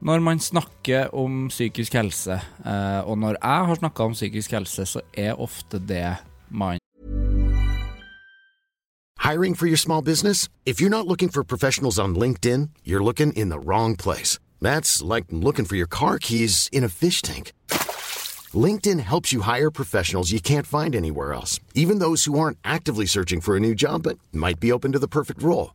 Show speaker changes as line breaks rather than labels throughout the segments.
Når man snakker om psykisk helse, eh, og når jeg har snakka om psykisk helse, så er ofte det man
Hiring for your small business? If you're not looking for professionals on LinkedIn, you're looking in the wrong place. That's like looking for your car keys in a fish tank. LinkedIn helps you hire professionals you can't find anywhere else, even those who aren't actively searching for a new job but might be open to the perfect role.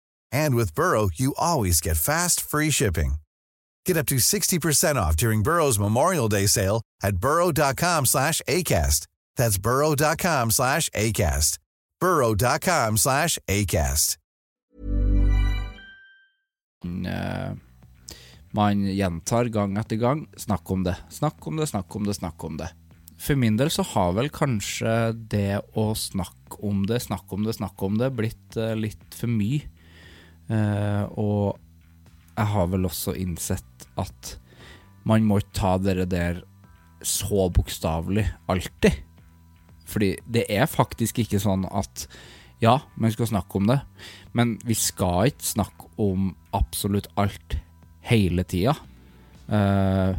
And with Burrow, you always get fast, free shipping. Get up to 60% off during Burrow's Memorial Day sale at burrow.com slash ACAST. That's burrow.com slash ACAST. burrow.com slash ACAST.
eh, man gjentar gang etter gang. Snakk om det, snakk om det, snakk om det, snakk om det. For min del så har vel kanskje det å snakke om det, snakke om det, snakke om det, blitt eh, litt for mye. Eh, og jeg har vel også innsett at man må ikke ta dere der så bokstavelig alltid. Fordi det er faktisk ikke sånn at ja, man skal snakke om det, men vi skal ikke snakke om absolutt alt hele tida. Eh,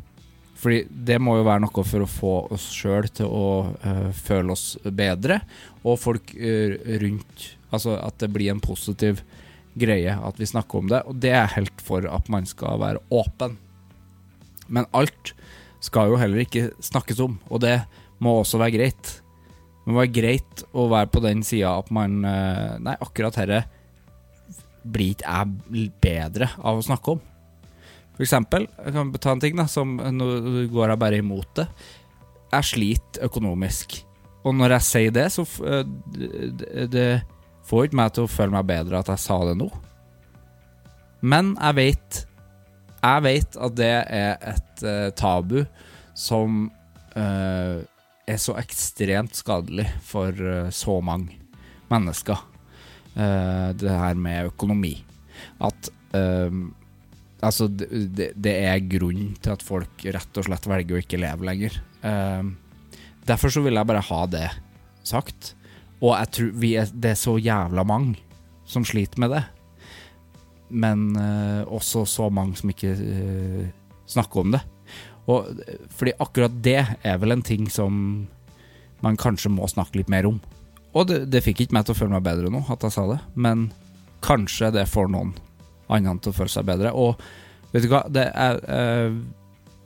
fordi det må jo være noe for å få oss sjøl til å eh, føle oss bedre, og folk eh, rundt Altså at det blir en positiv greie at vi snakker om det, og det er jeg helt for at man skal være åpen. Men alt skal jo heller ikke snakkes om, og det må også være greit. Men det var greit å være på den sida at man eh, Nei, akkurat herre blir ikke jeg bedre av å snakke om. For eksempel, jeg kan ta en ting da, som nå går jeg bare imot det. Jeg sliter økonomisk. Og når jeg sier det, så f- eh, d- d- Det får ikke meg til å føle meg bedre at jeg sa det nå. Men jeg vet Jeg vet at det er et eh, tabu som eh, er så ekstremt skadelig for eh, så mange mennesker. Eh, det her med økonomi. At eh, Altså, det, det det er grunnen til at folk rett og slett velger å ikke leve lenger. Eh, derfor så vil jeg bare ha det sagt. Og jeg tror vi er, det er så jævla mange som sliter med det. Men eh, også så mange som ikke eh, snakker om det. Og, fordi akkurat det er vel en ting som man kanskje må snakke litt mer om. Og det, det fikk ikke meg til å føle meg bedre nå, at jeg sa det, men kanskje det får noen annen til å føle seg bedre. Og vet du hva, det er eh,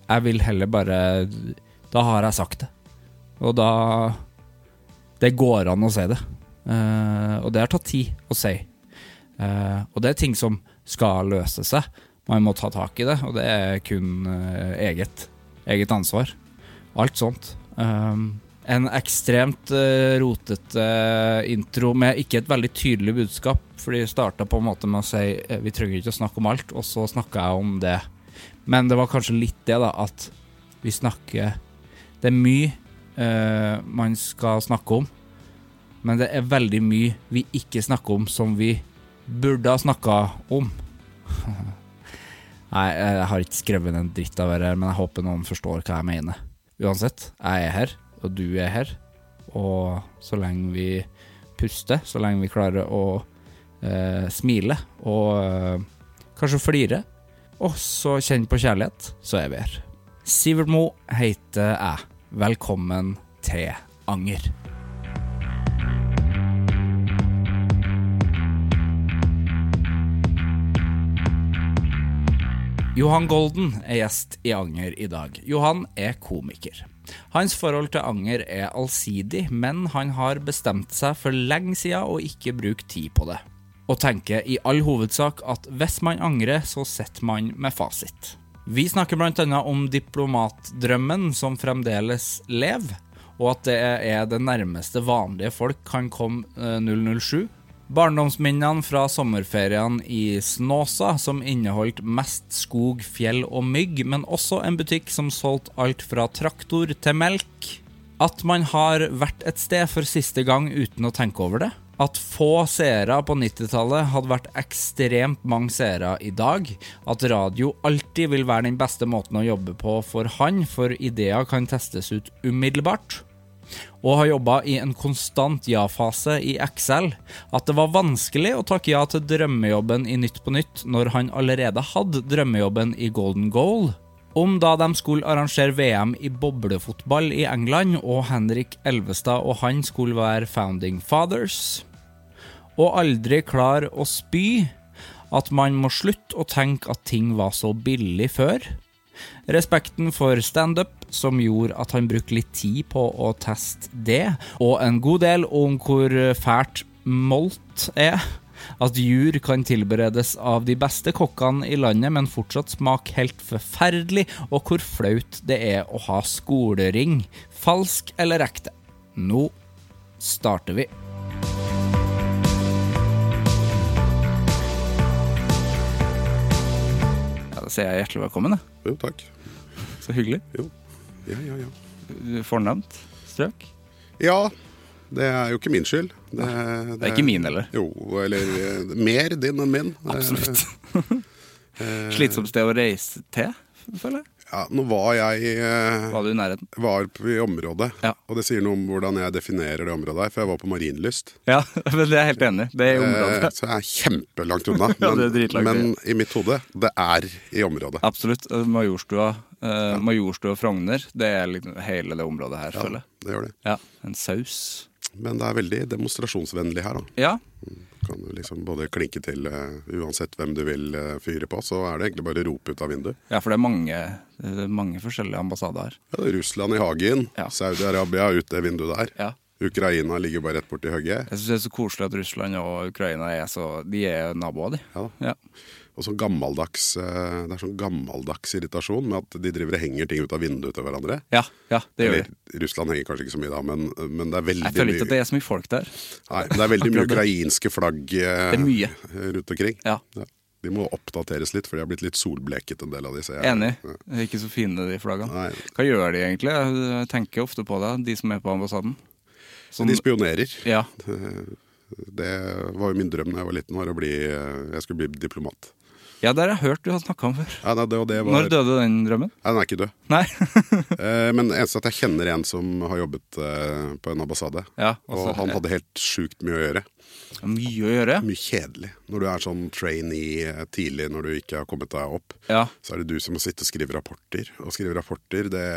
Jeg vil heller bare Da har jeg sagt det. Og da Det går an å si det. Eh, og det har tatt tid å si. Eh, og det er ting som skal løse seg. Man må ta tak i det, og det er kun eh, eget. Eget ansvar. Alt sånt. Um, en ekstremt eh, rotete eh, intro med ikke et veldig tydelig budskap, for de starta på en måte med å si eh, vi trenger ikke å snakke om alt, og så snakka jeg om det. Men det var kanskje litt det, da, at vi snakker Det er mye eh, man skal snakke om, men det er veldig mye vi ikke snakker om som vi burde ha snakka om. Nei, jeg har ikke skrevet en dritt av det her, men jeg håper noen forstår hva jeg mener. Uansett, jeg er her, og du er her, og så lenge vi puster, så lenge vi klarer å eh, smile og eh, kanskje flire, og så kjenne på kjærlighet, så er vi her. Sivert Mo heter jeg. Velkommen til Anger. Johan Golden er gjest i Anger i dag. Johan er komiker. Hans forhold til anger er allsidig, men han har bestemt seg for lenge siden å ikke bruke tid på det. Og tenker i all hovedsak at hvis man angrer, så sitter man med fasit. Vi snakker bl.a. om diplomatdrømmen som fremdeles lever, og at det er det nærmeste vanlige folk kan komme eh, 007. Barndomsminnene fra sommerferiene i Snåsa, som inneholdt mest skog, fjell og mygg, men også en butikk som solgte alt fra traktor til melk. At man har vært et sted for siste gang uten å tenke over det. At få seere på 90-tallet hadde vært ekstremt mange seere i dag. At radio alltid vil være den beste måten å jobbe på for han, for ideer kan testes ut umiddelbart og har jobba i en konstant ja-fase i Excel, at det var vanskelig å takke ja til drømmejobben i Nytt på Nytt når han allerede hadde drømmejobben i Golden Goal, om da de skulle arrangere VM i boblefotball i England, og Henrik Elvestad og han skulle være founding fathers, og aldri klar å spy, at man må slutte å tenke at ting var så billig før. Respekten for standup, som gjorde at han brukte litt tid på å teste det, og en god del om hvor fælt molt er. At jur kan tilberedes av de beste kokkene i landet, men fortsatt smake helt forferdelig, og hvor flaut det er å ha skolering. Falsk eller ekte? Nå starter vi.
Ja, Da sier jeg hjertelig velkommen. da.
Jo, takk.
Så hyggelig.
Jo. Ja, ja, ja.
Fornemt strøk.
Eh, Ja, det er jo ikke min skyld. Det,
Det er ikke min heller.
Jo, eller eh, mer din enn min. Eh, Det-
Absolutt.
eh,
Slitsomt sted å reise til, føler jeg.
Ja, nå var jeg eh,
Var du i nærheten?
var på- i området,
Ja.
og det sier noe om hvordan jeg definerer det området her, for jeg var på Marienlyst.
Ja, men det er jeg helt enig i. Det er i
Eh,
området.
Så jeg er kjempelangt unna.
Ja,
Men,
det er dritlangt,
men i mitt hode, det er i området.
Absolutt. Eh, Majorstua, eh, Majorstua og Frogner, det er liksom hele det området her, føler jeg.
Det gjør det.
Ja, En saus.
Men det er veldig demonstrasjonsvennlig her, da.
Ja,
Kan du liksom både klinke til eh, uansett hvem du vil eh, fyre på, så er det egentlig bare å rope ut av vinduet.
ja for det er mange, det er mange forskjellige ambassader her.
Ja, det er Russland i hagen,
Ja.
Saudi-Arabia ut det vinduet der.
Ja.
Ukraina ligger bare rett borti
Jeg
hugget.
syns det er så koselig at Russland og Ukraina er så De er naboer, de.
Ja.
Ja.
Og sånn gammeldags, eh, det er sånn gammeldags irritasjon med at de driver og henger ting ut av vinduet til hverandre.
ja, ja, det gjør de.
Eller, Russland henger kanskje ikke så mye da, men, men det er veldig
Jeg føler ikke at det
mye
er så mye folk der.
Nei, det er veldig mye
Akkurat det.
ukrainske flagg eh,
Det er mye.
rundt omkring.
Ja.
De må oppdateres litt, for de har blitt litt solbleket, en del av disse.
Enig. Det er Ikke så fine, de flaggene.
Nei.
Hva gjør de egentlig? Jeg tenker ofte på det, de som er på ambassaden. Sånn-
De spionerer. Eh,
ja,
Det var jo min drøm da jeg var liten, var å bli, eh, jeg skulle bli diplomat.
ja, det har jeg hørt du har snakka om før.
Ja, nei, det, og det var,
Når døde den drømmen?
Nei, den er ikke død.
Nei?
Eh, Men eneste at jeg kjenner en som har jobbet eh, på en ambassade.
Ja, altså,
og han hadde helt sjukt mye å gjøre.
Det er Mye å gjøre.
Mye kjedelig. Når du er sånn trainee eh, tidlig, når du ikke har kommet deg opp,
Ja.
så er det du som må sitte og skrive rapporter. Å skrive rapporter, det,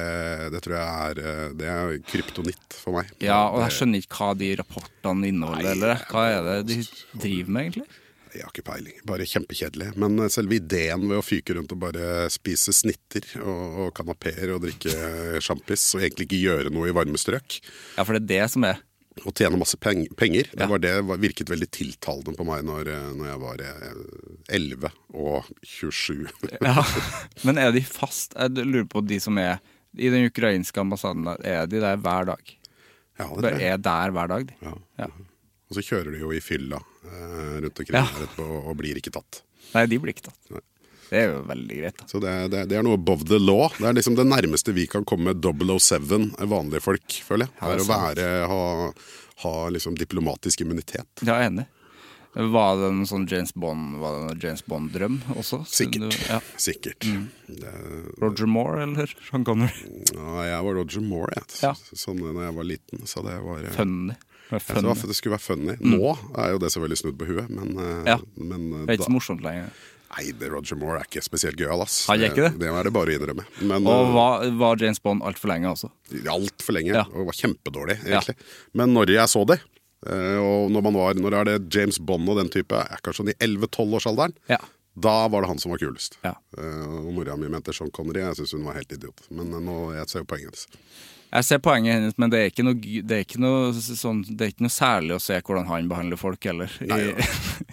det tror jeg er eh, Det er kryptonitt for meg.
ja, og jeg skjønner ikke hva de rapportene inneholder, eller hva er det de driver med, egentlig?
Jeg har ikke peiling. Bare kjempekjedelig. Men eh, selve ideen ved å fyke rundt og bare spise snitter og, og kanapeer og drikke sjampis og egentlig ikke gjøre noe i varme strøk,
Ja, for det er det som er
å tjene masse peng penger. Det,
Ja.
var det var- virket veldig tiltalende på meg når, eh, når jeg var eh, 11 og 27.
Ja, Men er de fast? Jeg lurer på de som er i den ukrainske ambassaden, der, er de der hver dag?
ja, det
Bare
tror jeg.
er der hver dag, de?
Ja.
Ja.
Og så kjører de jo i fylla eh, rundt omkring
Ja.
her etterpå og blir ikke tatt.
Nei, de blir ikke tatt.
Nei.
Det er jo veldig greit, da.
Så det, er- det, er- det er noe above the law. Det er liksom det nærmeste vi kan komme 007 eh, vanlige folk, føler jeg.
Ja, det
Det er
er
å være, ha, ha liksom diplomatisk immunitet.
Ja, jeg er enig. Var det en sånn James Bond Var det en James Bond-drøm også?
Sikkert.
Du- Ja. Mm.
Sikkert. Det,
Roger Moore eller Sean Connery?
ja, jeg var Roger Moore, jeg.
Ja.
Sånn da jeg var liten. Så det var eh,
Funny. Det er
Ja, Det,
funny. Mm.
var, det skulle være funny. Nå er jo det selvfølgelig snudd på huet, men, eh,
Ja.
men eh,
Det er ikke så
da-
morsomt lenger.
Nei, det Roger Moore er ikke spesielt gøyal, ass.
Han er ikke det?
Det, er det bare å innrømme. Men eh,
Og var, var James Bond altfor lenge
altså?
også?
altfor lenge,
Ja.
og var kjempedårlig,
Ja.
egentlig. Men når jeg så det, eh, og når man var Når er det James Bond og den type, er kanskje sånn i 11-12-årsalderen,
Ja.
Da var det han som var kulest.
Ja.
Eh, og mora mi mente Sean Connery. Jeg syns hun var helt idiot. Men eh, nå jeg ser jo poenget hennes.
Jeg ser poenget hennes, men det er ikke noe, gy- det er ikke noe, s- sånn, det er ikke noe særlig å se hvordan han behandler folk heller,
Nei,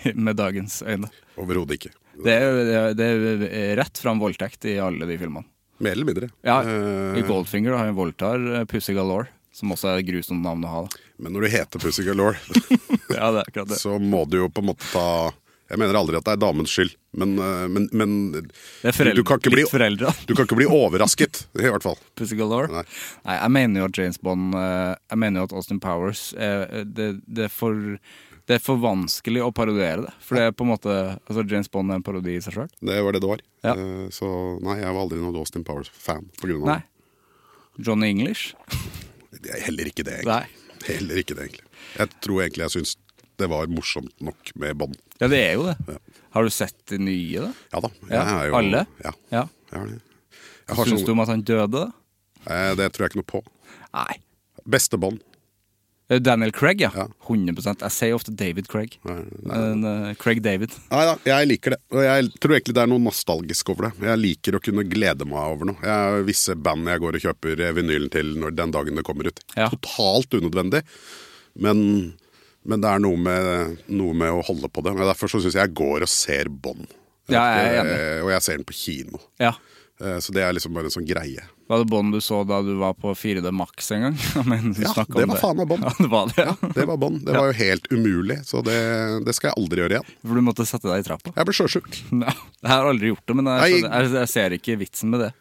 i, med dagens øyne.
Overhodet ikke.
Det er, jo- det er, det er rett fram voldtekt i alle de filmene.
Mer eller mindre.
Ja,
Eh,
I Goldfinger da, han voldtar eh, Pussy Galore, som også er et grusomt navn å ha. Da.
men når du heter Pussy Galore,
Ja, det er akkurat det.
så må du jo på en måte ta Jeg mener aldri at det er damens skyld, men, eh, men, men
Det er foreldre,
du, kan ikke bli,
litt foreldre.
du kan ikke bli overrasket, i hvert fall.
Pussy Galore.
Nei.
Nei. jeg mener jo at James Bond eh, Jeg mener jo at Austin Powers eh, det, det, er for, det er for vanskelig å parodiere det. For det er på en måte Altså, James Bond er en parodi i seg sjøl.
Det var det det var.
Ja.
Eh, Så nei, jeg var aldri noen Austin Powers-fan på grunn av
Nei. Johnny English?
det. Jeg er Heller ikke det, egentlig.
Nei.
Heller ikke det, egentlig. Jeg tror egentlig jeg syns det var morsomt nok med Bond.
Ja, det er jo det. Har du sett de nye, da?
Ja da. Jeg
Ja,
er jo,
alle?
Ja.
Ja.
Jeg har det. Jeg har
Syns du
sånn,
om at han døde, da?
eh, det tror jeg ikke noe på.
Nei.
Beste Bond.
Eh, Daniel Craig, ja.
Ja.
100 Jeg sier ofte David Craig. Men, eh, Craig David.
Nei da, jeg liker det. Og jeg tror egentlig det er noe nostalgisk over det. Jeg liker å kunne glede meg over noe. Jeg har visse band jeg går og kjøper vinylen til når, den dagen det kommer ut.
Ja.
Totalt unødvendig. Men, men det er noe med, noe med å holde på det. Og derfor så syns jeg jeg går og ser Bånd.
Ja, jeg er enig.
eh, Og jeg ser den på kino.
Ja.
Eh, Så det er liksom bare en sånn greie.
Var det Bond du så da du var på 4D Max en gang? Jeg mener, du
Ja,
snakket
det
om
var faen meg Bond.
Ja, det var det, ja.
Det var Bånd. Det var jo helt umulig, så det, det skal jeg aldri gjøre igjen.
For du måtte sette deg i trappa?
Jeg ble sjøsjuk.
Nei, jeg har aldri gjort det, men jeg,
Nei.
skjønner- jeg, jeg ser ikke vitsen med det.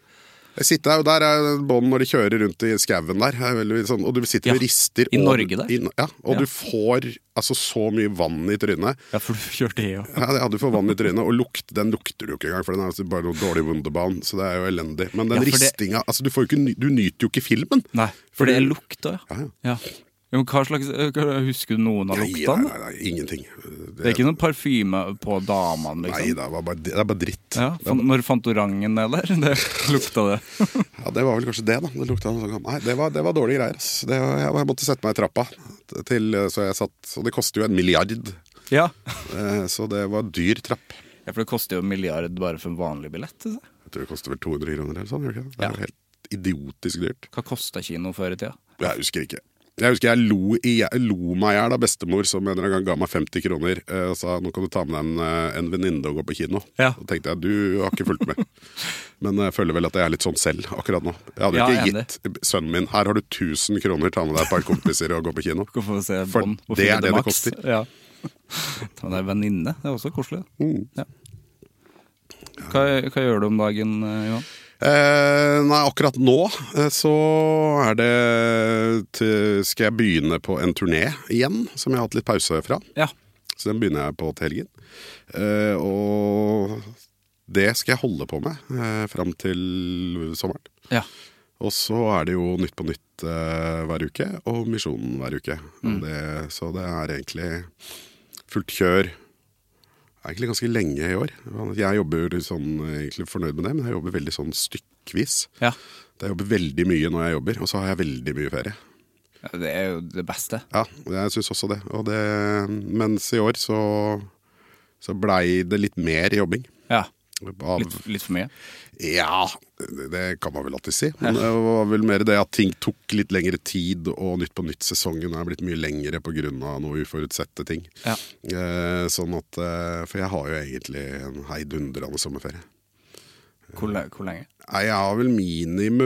Jeg sitter her, og der er bånd når de kjører rundt i skauen der. er veldig sånn, Og du sitter
Ja,
og rister.
i
og-
Norge der.
i- ja, og
Ja.
du får altså så mye vann i trynet.
Ja, for du kjørte det òg.
Ja, det- ja, du får vann i trynet, og lukt, den lukter du jo ikke engang, for den er altså bare noe dårlig Wunderbaum, så det er jo elendig. Men den
Ja, for det-
ristinga altså du, får jo ikke, ny- du nyter jo ikke filmen.
Nei, for det er lukt òg,
Ja, ja.
ja. Ja, Men hva slags eh, hva- Husker du noen av
Nei,
luktene?
Nei, nei, nei, ingenting.
Det er ikke noen parfyme på damene,
Nei,
liksom?
det var bare, det er bare dritt.
Ja, fan, når Fantorangen er der, det lukta det.
Ja, Det var vel kanskje det, da. Det lukta noe sånn Nei, det var, det var dårlige greier. ass. Det, var- jeg, jeg måtte sette meg i trappa, til, så jeg satt Og det koster jo en milliard.
Ja.
Eh, Så det var dyr trapp.
ja, for det koster jo en milliard bare for en vanlig billett. ikke sant?
Jeg tror det koster vel 200 kroner eller sånn. gjør det ikke det? Det er
Ja.
jo helt idiotisk dyrt.
Hva kosta kino før i tida?
Jeg husker ikke. Jeg husker jeg lo, i- jeg lo meg i hjel av bestemor som en eller annen gang ga meg 50 kroner eh, og sa nå kan du ta med deg en, eh, en venninne og gå på kino.
Ja.
Da tenkte jeg du har ikke fulgt med. Men jeg føler vel at jeg er litt sånn selv akkurat nå. Jeg hadde
Ja,
ikke
enig.
gitt eh, sønnen min her har du 1000 kroner, ta med deg et par kompiser og gå på kino.
Skal få se
For
Bond på
det er
4D
det det
Max.
koster.
Ja. Ta med deg venninne, det er også koselig.
Mm.
Ja. Hva, hva gjør du om dagen, eh, Johan?
Eh, nei, akkurat nå eh, så er det til, Skal jeg begynne på en turné igjen, som jeg har hatt litt pause fra.
Ja.
Så den begynner jeg på til helgen. Eh, og det skal jeg holde på med eh, fram til sommeren.
ja.
Og så er det jo Nytt på nytt eh, hver uke, og Misjonen hver uke. Og Det, så det er egentlig fullt kjør. Egentlig ganske lenge i år. Jeg jobber sånn, egentlig fornøyd med det, men jeg jobber veldig sånn stykkvis.
ja.
Jeg jobber veldig mye når jeg jobber, og så har jeg veldig mye ferie.
Ja, Det er jo det beste.
Ja, jeg syns også det. Og det. Mens i år så, så blei det litt mer jobbing.
Ja.
Av,
Litt, litt for mye.
Ja, det, det kan man vel alltid si. Men det var vel mer det at ting tok litt lengre tid, og Nytt på nytt-sesongen er blitt mye lengre pga. noen uforutsette ting.
Ja.
Eh, sånn at eh, For jeg har jo egentlig en heidundrende sommerferie.
Hvor, le- hvor lenge?
Nei, jeg har vel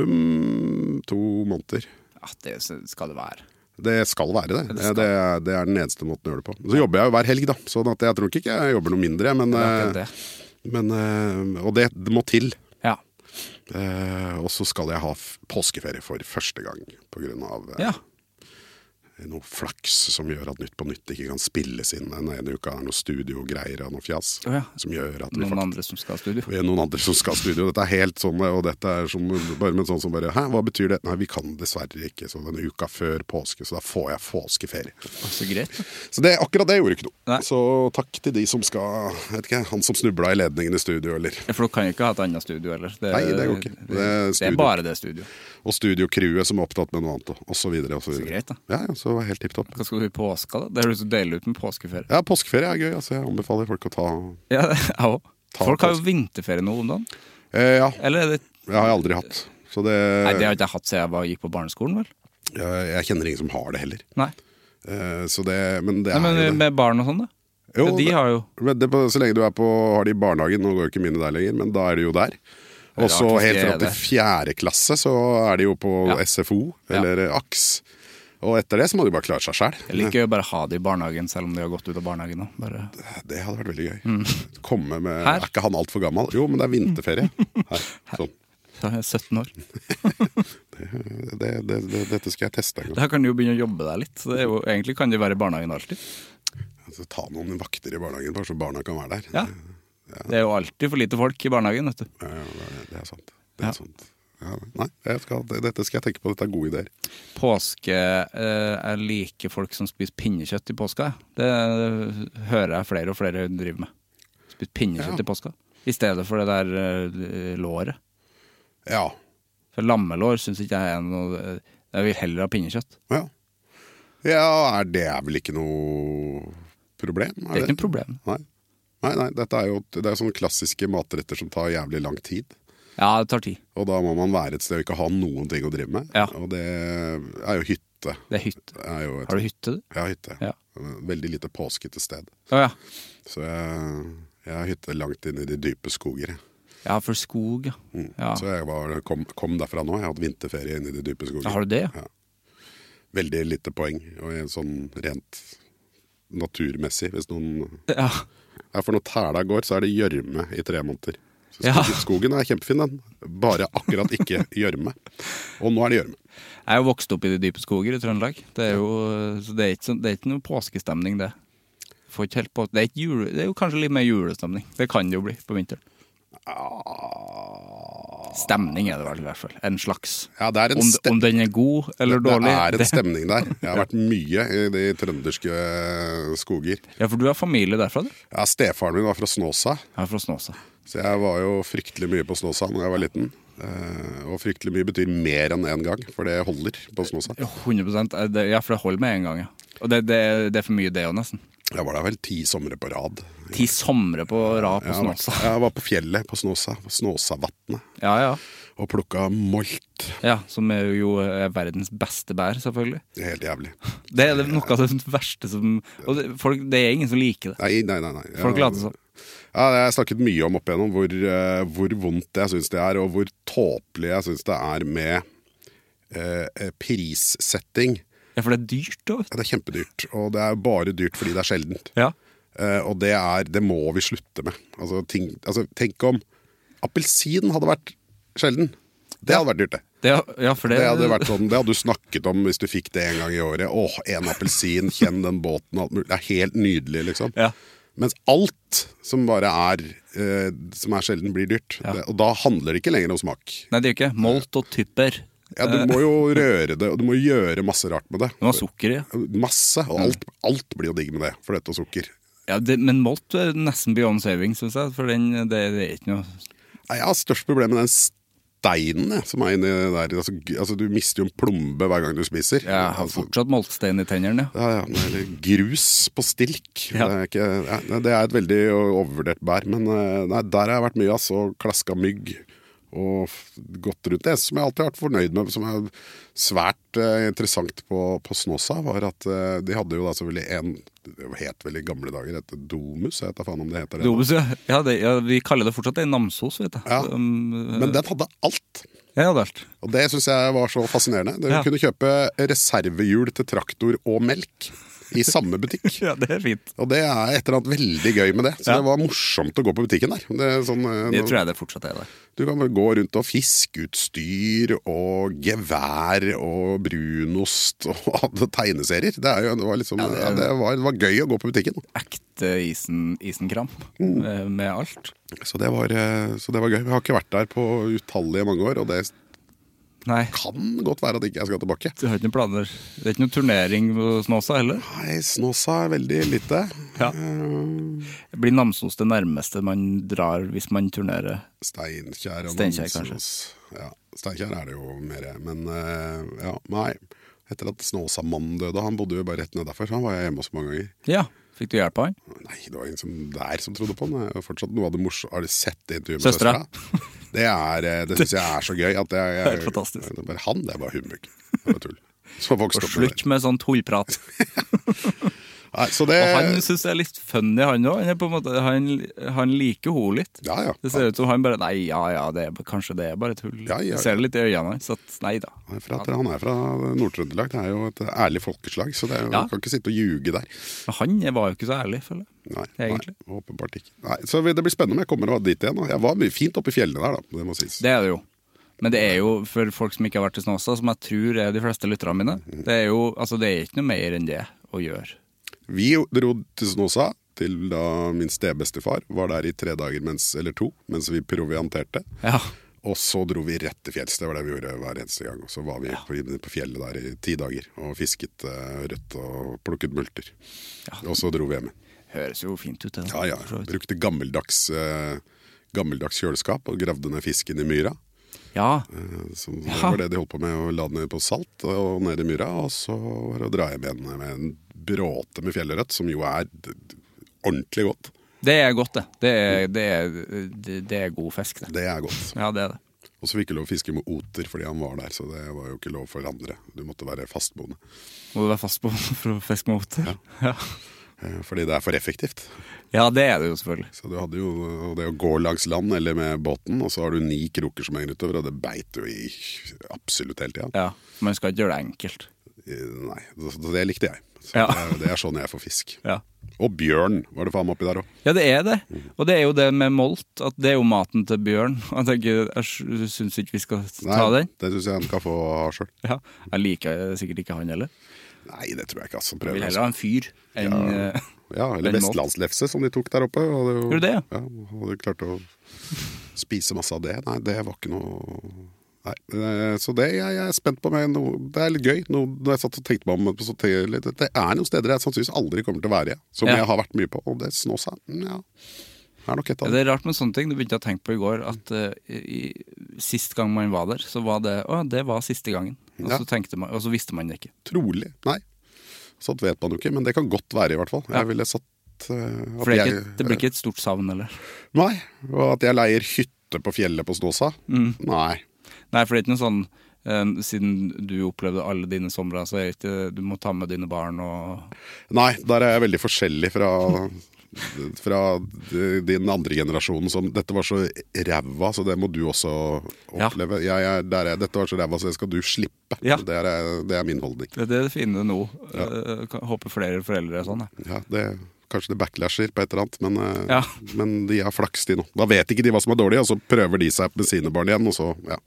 minimum to måneder.
Ja, det s- skal det være.
Det skal være det.
Det
Det,
skal.
er, det er den eneste måten å gjøre det på. Så jobber jeg jo hver helg, da. Så sånn at jeg tror ikke jeg jobber noe mindre. Men,
Det er akkurat det.
men, eh, og det, det må til.
Ja.
Eh, og så skal jeg ha f- påskeferie for første gang pga. Eh,
ja.
noe flaks som gjør at Nytt på nytt ikke kan spilles inn den ene uka. Det er noe studiogreier og noe fjas
Å ja.
som gjør at vi
Noen
faktisk
andre som skal ha studio.
ved noen andre som skal ha studio. Dette er helt sånn, og dette er som, bare med sånn som bare Hæ, hva betyr det? Nei, vi kan dessverre ikke. Så den uka før påske, så da får jeg påskeferie.
Så greit.
Så det, akkurat det gjorde ikke noe.
Nei.
Så takk til de som skal jeg vet ikke, Han som snubla i ledningen i studio, eller
Ja, For du kan jo ikke ha et annet studio heller. Det,
Nei, det går ikke. Det
Det,
er
det
studio.
er bare det studio.
Og studiocrewet som er opptatt med noe annet, og- og så videre. Og så,
Så
videre.
greit, da.
Ja, ja, så det var helt tipp topp.
Hva skal du i påska, da? Det høres jo deilig ut med påskeferie.
Ja, påskeferie er gøy. Altså, jeg anbefaler folk å ta
Ja, jeg òg.
ta
Folk har jo
påske-
vinterferie nå om dagen.
eh, Ja,
Eller er det
det har jeg aldri hatt. Så det,
Nei, det har ikke jeg hatt siden jeg var, gikk på barneskolen, vel?
jeg, jeg kjenner ingen som har det heller.
Nei,
Eh, så det, men det
Nei
er jo
men
det.
med barn og sånn, da.
Jo,
de har jo
Men det, er på- så lenge du er på, har de i barnehagen, nå går jo ikke mine der lenger, men da er du jo der. Og så
rart hvis
helt
de er
fram til
der.
fjerde klasse så er de jo på
Ja.
SFO,
Ja.
eller eh, AKS. Og etter det så må de bare klare seg sjæl.
Jeg liker jo bare å ha det i barnehagen, selv om de har gått ut av barnehagen nå. Bare...
Det hadde vært veldig gøy. Komme med
Mm. Her?
Er ikke han altfor gammel? Jo, men det er vinterferie. Her. Sånn.
Så er jeg 17 år.
Det, det, det, dette skal jeg teste en gang.
Da kan du jo begynne å jobbe deg litt. Så det er jo, egentlig kan du være i barnehagen alltid.
Altså, ta noen vakter i barnehagen, bare så barna kan være der.
Ja. Det er jo alltid for lite folk i barnehagen, vet du.
Ja, ja, det, er- det er sant. Det
Ja.
er sant. Ja, nei, jeg skal, det- dette skal jeg tenke på. Dette er gode ideer.
Påske eh, Jeg liker folk som spiser pinnekjøtt i påska. jeg. Det eh, hører jeg flere og flere driver med. Spiser pinnekjøtt
Ja.
i påska. I stedet for det der eh, låret.
Ja.
For lammelår syns ikke jeg er noe Jeg vil heller ha pinnekjøtt.
ja. Ja, er det er vel ikke noe problem?
Det er ikke noe problem.
Nei. Nei, nei, dette er jo det er sånne klassiske matretter som tar jævlig lang tid.
Ja, det tar tid.
Og da må man være et sted og ikke ha noen ting å drive med.
Ja.
Og det er jo hytte.
Det er hytte.
Er jo et,
Har du hytte, du?
Ja, hytte.
Ja.
Veldig lite påskete sted.
Å ja.
Så jeg, jeg har hytte langt inn i de dype skoger. jeg.
Ja, for skog, ja. ja.
Mm. Så jeg var, kom, kom derfra nå. Jeg har hatt vinterferie inne i de dype skoger.
Ja, Har du det, ja?
Veldig lite poeng, og jeg- sånn rent naturmessig. Hvis noen
Ja.
ja, For når tæla går, så er det gjørme i tre måneder. Så
Ja.
skogen, skogen er kjempefin, den. Bare akkurat ikke gjørme. Og nå er det gjørme.
Jeg er jo vokst opp i de dype skoger i Trøndelag. Det er jo, så det er ikke, sånn- det er ikke noe påskestemning, det. Får ikke helt på, det, er ikke jule, det er jo kanskje litt mer julestemning. Det kan det jo bli på vinteren. Stemning er det vel i hvert fall. En slags.
Ja, det er Ah. en
om,
stem-
om den er god eller dårlig.
Det er en
det-
stemning der. Jeg har vært mye i de trønderske eh, skoger.
Ja, for du har familie derfra, du?
Ja, Stefaren min var fra Snåsa,
Jeg er fra Snåsa.
så jeg var jo fryktelig mye på Snåsa da jeg var liten. Eh, Og fryktelig mye betyr mer enn én gang, for det holder på Snåsa.
100 er Eh, det, Ja, for det holder med en gang, ja. Og det, det, det er for mye, det òg, nesten.
Jeg var der vel ti somre på rad.
Ti somre på rad på sånn
Jeg var,
Snåsa.
jeg var på fjellet på Snåsa, på Snåsavatnet,
Ja, ja.
og plukka molt.
ja. Som er jo eh, verdens beste bær, selvfølgelig.
Det er Helt jævlig.
Det er det noe av det verste som og det, folk, det er ingen som liker det.
Nei, nei, nei. nei. Jeg-
Folk later som.
Ja, jeg har snakket mye om opp igjennom hvor, eh, hvor vondt jeg syns det er, og hvor tåpelig jeg syns det er med eh, eh, prissetting.
Ja, for det er dyrt, da. vet du.
Ja, det er kjempedyrt, og det er bare dyrt fordi det er sjeldent.
Ja.
Eh, og det, er, det må vi slutte med. Altså, ting, altså, tenk om appelsin hadde vært sjelden. Det hadde vært dyrt, det.
Det, ja, for det,
Det hadde, vært sånn, det hadde du snakket om hvis du fikk det en gang i året. Åh, en appelsin, kjenn den båten, alt mulig. Det er helt nydelig, liksom.
Ja.
Mens alt som bare er eh, Som er sjelden, blir dyrt. Det, og da handler det ikke lenger om smak.
Nei, det gjør ikke Molt og typer.
Ja, du må jo
Eh.
røre det, og du må gjøre masse rart med det.
Det var sukker Mm. i. ja.
Masse. Og alt, alt blir jo digg med det. Fløte og sukker.
Ja, det, men Molt er nesten beyond saving, syns jeg. For den, det, det er ikke noe
Nei, Jeg har størst problem med den steinen jeg, som er inni der. Altså, g- altså, du mister jo en plombe hver gang du spiser.
Jeg har
altså,
fortsatt moltstein i tennene, ja.
ja, ja, men Eller grus på stilk.
Ja.
Det, er ikke, ja, nei, det er et veldig overvurdert bær. Men eh, nei, der har jeg vært mye, altså. og Klaska mygg. Og f- gått rundt det som jeg alltid har vært fornøyd med, som er svært eh, interessant på, på Snåsa, var at eh, de hadde jo da selvfølgelig en Det het vel i gamle dager et domus, jeg vet da faen om det heter det. nå.
Dobus, ja. Ja, det, ja. Vi kaller det fortsatt det i Namsos, vet jeg.
Ja.
Um,
Men den hadde alt.
ja, ja, det er alt.
Og Det syns jeg var så fascinerende. Du
Ja.
kunne kjøpe reservehjul til traktor og melk i samme butikk.
Ja, det er fint.
Og det er et eller annet veldig gøy med det.
Ja.
Så det var morsomt å gå på butikken der. Det er sånn, eh,
Det
nå-
tror jeg det fortsatt er der.
Du kan bare gå rundt og fiskeutstyr og gevær og brunost og alle tegneserier. Det, er jo, det, var liksom, ja, det, var, det var gøy å gå på butikken.
Ekte isen, isenkram eh, med alt.
Så det var, eh, så det var gøy. Jeg har ikke vært der på utallige mange år, og det
Nei.
kan godt være at ikke jeg skal tilbake.
Du har ikke noen planer? Det er ikke noen turnering på Snåsa heller?
Nei, Snåsa er veldig lite.
Ja.
Eh,
Blir Namsos det nærmeste man drar hvis man turnerer?
Steinkjer og
Steinkjer,
Namsos. Ja, Steinkjer er det jo mer, men eh, ja, nei. Etter at Snåsamannen døde, han bodde jo bare rett ned derfor, så han var jeg hjemme hos mange ganger.
Ja, Fikk du hjelp av han?
Nei, det var ingen som der som trodde på den. Det er jo fortsatt noe av det morsomme. Har du sett det intervjuet med
Søstera?
søstera? Det, er, eh, det syns jeg er så gøy. At det, er,
Det er helt fantastisk.
Det er bare han, det er bare humbug. Det er bare tull. Så vokste
Og
opp med
slutt
det.
med sånn tullprat.
Nei, så det
Og han syns det er litt funny, han òg. Han, er på en måte- han, han liker henne litt.
Ja, ja.
Det ser ut som han bare Nei, ja ja, det er, kanskje det er bare tull.
Ja, ja,
Jeg ser det litt i øynene hans at nei da.
Han er fra, han er fra Nord-Trøndelag. Det er jo et ærlig folkeslag, så det er, jo-
Ja.
man kan ikke sitte og ljuge der.
Men han var jo ikke så ærlig, føler jeg.
Nei,
Egentlig.
nei åpenbart ikke. Nei, så det blir spennende om jeg kommer og dit igjen. da. Jeg var mye fint oppe i fjellene der, da. Det må sies.
Det er det jo. Men det er jo, for folk som ikke har vært i Snåsa, som jeg tror er de fleste lytterne mine,
Mhm.
det er jo altså det er ikke noe mer enn det å gjøre.
Vi dro til Snåsa, til da min stebestefar var der i tre dager mens, eller to, mens vi provianterte.
Ja.
Og så dro vi rett til fjells. Det var det vi gjorde hver eneste gang. Og så var vi på, på fjellet der i ti dager og fisket eh, rødt og plukket multer. Og så dro vi hjem.
Høres jo fint ut, det. da,
Ja, ja.
for så vidt.
Brukte gammeldags, eh, gammeldags kjøleskap og gravde ned fisken i myra.
ja.
Eh, Så det
Ja.
var det de holdt på med, å la den ned på salt og ned i myra. Og så var det å dra hjem igjen med en bråte med fjellrødt, som jo er d- d- ordentlig godt.
Det er godt, det. Det er, det er, det- det er god fisk, det.
Det er godt.
Ja, det er det.
Og så fikk jeg lov å fiske med oter fordi han var der, så det var jo ikke lov for andre. Du måtte være fastboende.
Må du være fast på for å fiske med oter? Ja.
Eh, Fordi det er for effektivt.
ja, det er det jo selvfølgelig.
Så du hadde jo og det å gå langs land eller med båten, og så har du ni kroker som henger utover, og det beit jo i absolutt hele tida.
Ja. Man skal ikke gjøre det enkelt.
Nei, så så det likte jeg. Så
Ja.
det, er- det er sånn jeg får fisk.
Ja.
Og bjørn var det faen meg oppi der òg.
Ja, det er det. Og det er jo det med molt, at det er jo maten til bjørn. Jeg, tenker, jeg syns ikke vi skal ta den.
det syns jeg han kan få ha sjøl.
Ja. Jeg liker sikkert ikke han heller.
Nei, det tror jeg ikke. Altså.
Jeg
Prøver,
vil
altså.
heller ha en fyr enn
Ja.
eh,
Ja, eller
en mål.
vestlandslefse som de tok der oppe. Hadde jo,
Gjorde det, ja?
ja? Hadde jo klart å spise masse av det. Nei, det var ikke noe Nei, eh, Så det jeg, jeg er spent på. Med noe, det er litt gøy. Noe, når jeg satt og tenkte meg om på så tenkte jeg litt, Det er noen steder jeg sannsynligvis aldri kommer til å være, som
Ja.
jeg har vært mye på. Og det Snåsa ja, er nok et
Ja,
av
det er
dem.
rart med sånne ting. Du begynte å tenke på i går at eh, i, sist gang man var der, så var det Å, det var siste gangen. Og,
Ja.
så tenkte man, og så visste man det ikke.
Trolig. Nei. Sånt vet man jo ikke, men det kan godt være, i hvert fall.
Ja.
Jeg ville satt eh, at
For det, er
jeg-
ikke, det blir ikke et stort savn, eller?
Nei. Og at jeg leier hytte på fjellet på Snåsa.
Mm.
Nei.
Nei, for det er ikke noe sånn eh, Siden du opplevde alle dine somre, så er det ikke Du må ta med dine barn og
Nei, der er jeg veldig forskjellig fra, fra din andre generasjonen som Dette var så ræva, så det må du også oppleve. Jeg er, der er, dette var så ræva, så det skal du slippe.
Ja.
Det, er, det er min holdning.
Det er det fine nå. Eh, kan- håper flere foreldre er sånn. jeg.
Ja, det, kanskje det backlasher på et eller annet, men, eh,
Ja.
men de har flaks, de nå. Da vet ikke de hva som er dårlig, og så prøver de seg med sine barn igjen, og så ja,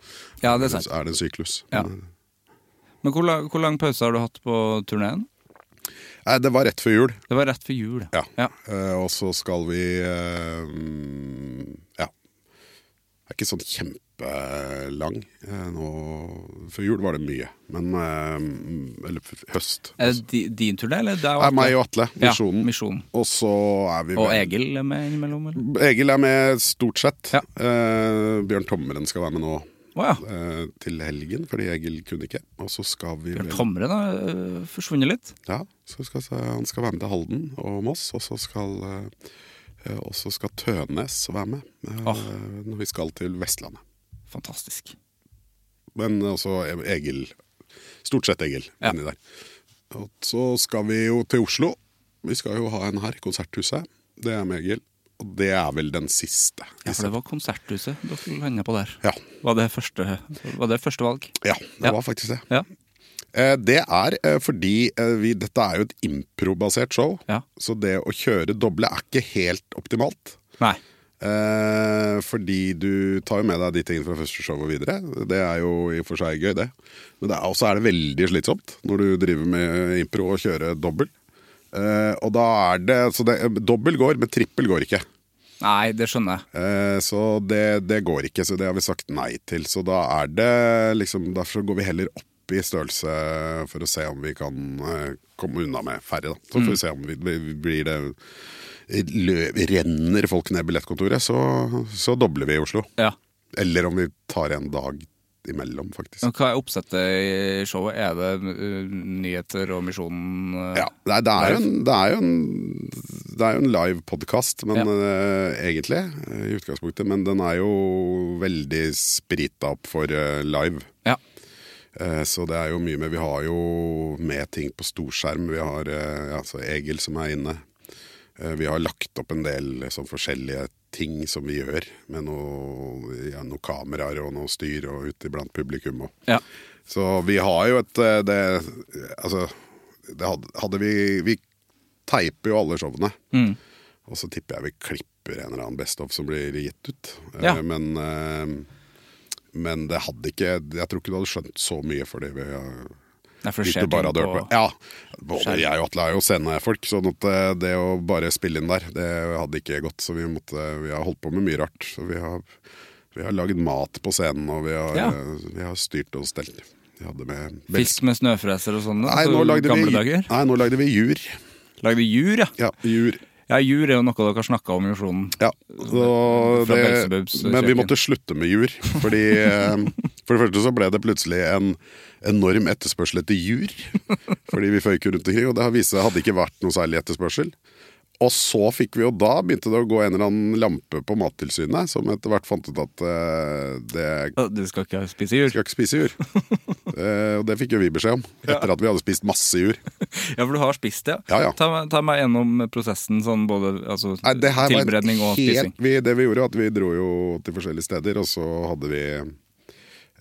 Ja, det er sant.
er det en syklus.
Ja.
Men,
Men hvor, la- hvor lang pause har du hatt på turneen?
Nei, eh, det var rett før jul.
Det var rett før jul.
Ja.
ja.
Eh, og så skal vi eh, mm, Ja. Det er ikke sånn kjempelang. Eh, nå, før jul var det mye. Men eh, mm, Eller f- høst.
Er det di- din turné, eller? Det er jo
Det er meg
Atle.
og Atle.
Ja,
Misjonen.
Misjonen.
Og så er vi
Og
med-
Egil er med innimellom, eller?
Egil er med stort sett.
Ja.
Eh, Bjørn Tommeren skal være med nå
Å ja.
eh, til helgen, fordi Egil kunne ikke. Og så skal vi
Bjørn
vel-
Tomren har øh, forsvunnet litt.
Ja, så skal, så han skal være med til Halden og Moss, og så skal, eh, og så skal Tønes være med eh,
Ah.
når vi skal til Vestlandet.
Fantastisk.
Men også Egil. Stort sett Egil
Ja.
inni der. Og så skal vi jo til Oslo. Vi skal jo ha en her, Konserthuset. Det er med Egil. Og det er vel den siste.
Ja, for det var Konserthuset dere landa på der.
Ja.
Var det første, var det første valg?
Ja,
Ja.
det var faktisk det.
Ja.
Eh, Det er eh, fordi eh, vi, dette er jo et improbasert show,
Ja.
så det å kjøre doble er ikke helt optimalt.
Nei.
Eh, fordi du tar jo med deg de tingene fra første show og videre. Det er jo i og for seg gøy, det. Men det er, også er det veldig slitsomt når du driver med impro og kjører dobbel. Eh, og da er det Så det, dobbel går, men trippel går ikke.
Nei, det skjønner jeg.
Eh, så det, det går ikke, så det har vi sagt nei til. Så da er det liksom Derfor så går vi heller opp i størrelse for å se om vi kan eh, komme unna med færre, da. Så får vi se om vi, vi blir det lø, Renner folk ned billettkontoret, så, så dobler vi i Oslo.
Ja.
Eller om vi tar en dag midt imellom, faktisk.
Og Hva er oppsettet i showet? Er det uh, nyheter og misjonen? uh,
Ja, det er, det er, jo, en, det er, jo, en, det er jo en live podkast, men
Ja.
eh, egentlig, eh, i utgangspunktet. Men den er jo veldig sprita opp for eh, live.
Ja.
Eh, Så det er jo mye med Vi har jo med ting på storskjerm. Vi har eh, ja, så Egil som er inne. Eh, Vi har lagt opp en del eh, sånn forskjellige ting som vi gjør, med noe, ja, noen kameraer og noe styr og ute blant publikum. Og.
ja.
Så vi har jo et eh, det, Altså, det hadde, hadde vi Vi teiper jo alle showene.
Mm.
Og så tipper jeg vi klipper en eller annen Best of som blir gitt ut. Eh,
Ja.
Men eh, men det hadde ikke Jeg tror ikke du hadde skjønt så mye for det. Vi, har-
Nei, for det
hvis
skjer
du bare
ting
hadde hørt
på
på Ja, både jeg og Atle er jo scenefolk, sånn at eh, det å bare spille inn der, det hadde ikke gått. Så vi, måtte, vi har holdt på med mye rart. Så vi har, vi har lagd mat på scenen, og vi har,
Ja.
eh, vi har styrt og stelt. Vi hadde med
Fisk med snøfreser og sånn? da,
Nei,
på
nå lagde,
gamle
vi,
dager.
nei, nå lagde vi jur.
Lagde jur, ja.
Ja, jur.
Ja, Jur er jo noe dere har snakka om i misjonen.
Ja, så
Fra
det-
Belzebubs
men vi
kjøkken.
måtte slutte med jur. Fordi, eh, for det første så ble det plutselig en enorm etterspørsel etter jur. Fordi vi føyk jo rundt omkring, og det har vist seg hadde ikke vært noe særlig etterspørsel. Og så fikk vi jo da begynte det å gå en eller annen lampe på Mattilsynet, som etter hvert fant ut at eh, det
Å, Du skal ikke spise jur?
skal ikke spise jur. Eh, Og det fikk jo vi beskjed om, etter at vi hadde spist masse jur.
Ja, for du har spist det?
Ja, ja.
Ta, meg- ta meg gjennom prosessen, sånn både altså,
Nei, det her var en
tilberedning og spising.
helt, vi, Det vi gjorde, var at vi dro jo til forskjellige steder, og så hadde vi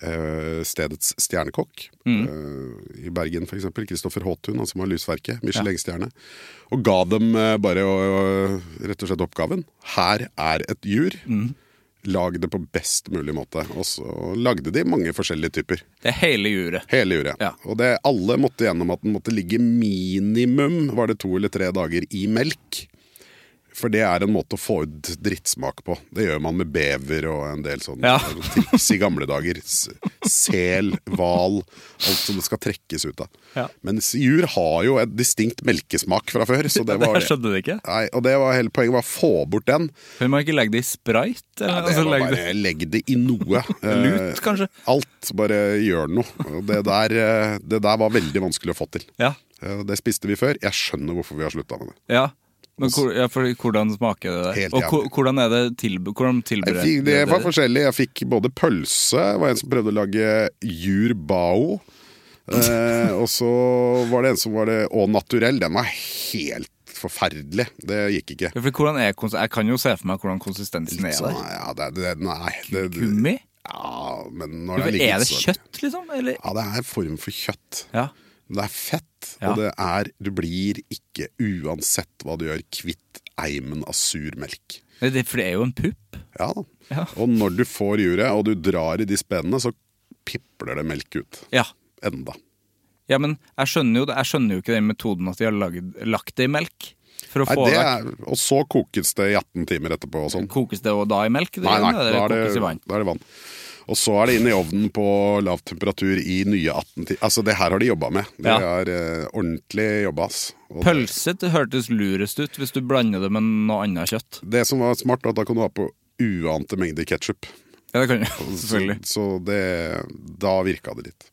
eh, stedets stjernekokk.
Mm.
eh, I Bergen, f.eks. Kristoffer Håtun, han som har Lysverket. Michelin-stjerne. Og ga dem eh, bare å- å- rett og slett oppgaven. Her er et jur.
Mm.
Lag det på best mulig måte. Og så lagde de mange forskjellige typer.
Det er hele juret.
Hele juret.
Ja.
Og det, alle måtte gjennom at den måtte ligge minimum var det to eller tre dager i melk. For det er en måte å få ut drittsmak på. Det gjør man med bever og en del sånne
Ja.
triks i gamle dager. S- Sel, hval, alt som det skal trekkes ut av.
Ja.
Mens jur har jo et distinkt melkesmak fra før. Så
Det
det var
her
det.
skjønte du ikke?
Nei, og det var hele poenget, var å få bort den.
For man ikke legge det i sprite? Eller,
Ja, det
altså,
var
legge det
bare legg det i noe.
Lut, kanskje?
Eh, Alt. Bare gjør noe. Og Det der, eh, det der var veldig vanskelig å få til.
Ja.
Eh, Det spiste vi før. Jeg skjønner hvorfor vi har slutta med det.
ja. Men hvor, ja, for hvordan smaker det der?
Helt
og hvor,
jævlig.
hvordan er det tilbe hvordan
Jeg
tilbereder
fikk, det var
dere?
forskjellig. Jeg fikk både pølse, det var en som prøvde å lage jur bao. Eh, og så var det en som var det Å naturell. Den var helt forferdelig. Det gikk ikke.
Ja, for hvordan er kons jeg kan jo se for meg hvordan konsistensen er
Så,
der.
ja, det, det, nei, det, det,
Gummi?
ja, men når
Er
den
det,
ligger
er det
så-
kjøtt, liksom? Eller?
sånn. Ja, det er en form for kjøtt.
Ja.
Det er fett,
Ja.
og det er Du blir ikke, uansett hva du gjør, kvitt eimen av sur melk.
Nei, Det, for det er jo en pupp.
Ja da.
Ja.
Og når du får juret, og du drar i de spennene, så pipler det melk ut.
Ja.
Enda.
ja, men jeg skjønner jo, det, jeg skjønner jo ikke den metoden at de har lagd, lagt det i melk. For å
Nei,
få
det
det
er, og så kokes det i 18 timer etterpå og sånn.
Kokes det og da i melk?
Nei, nei,
eller
da er,
kokes i
det,
vann?
da er det vann. Og så er det inn i ovnen på lav temperatur i nye 18 timer. Altså, det her har de jobba med. De
Ja.
har eh, ordentlig jobba, ass. Og det-
Pølse det hørtes lurest ut hvis du blander det med noe annet kjøtt.
Det som var smart, var at da kan du ha på uante mengder ketsjup.
Ja, det kan jo selvfølgelig.
Mm. Så, så det, da virka det litt.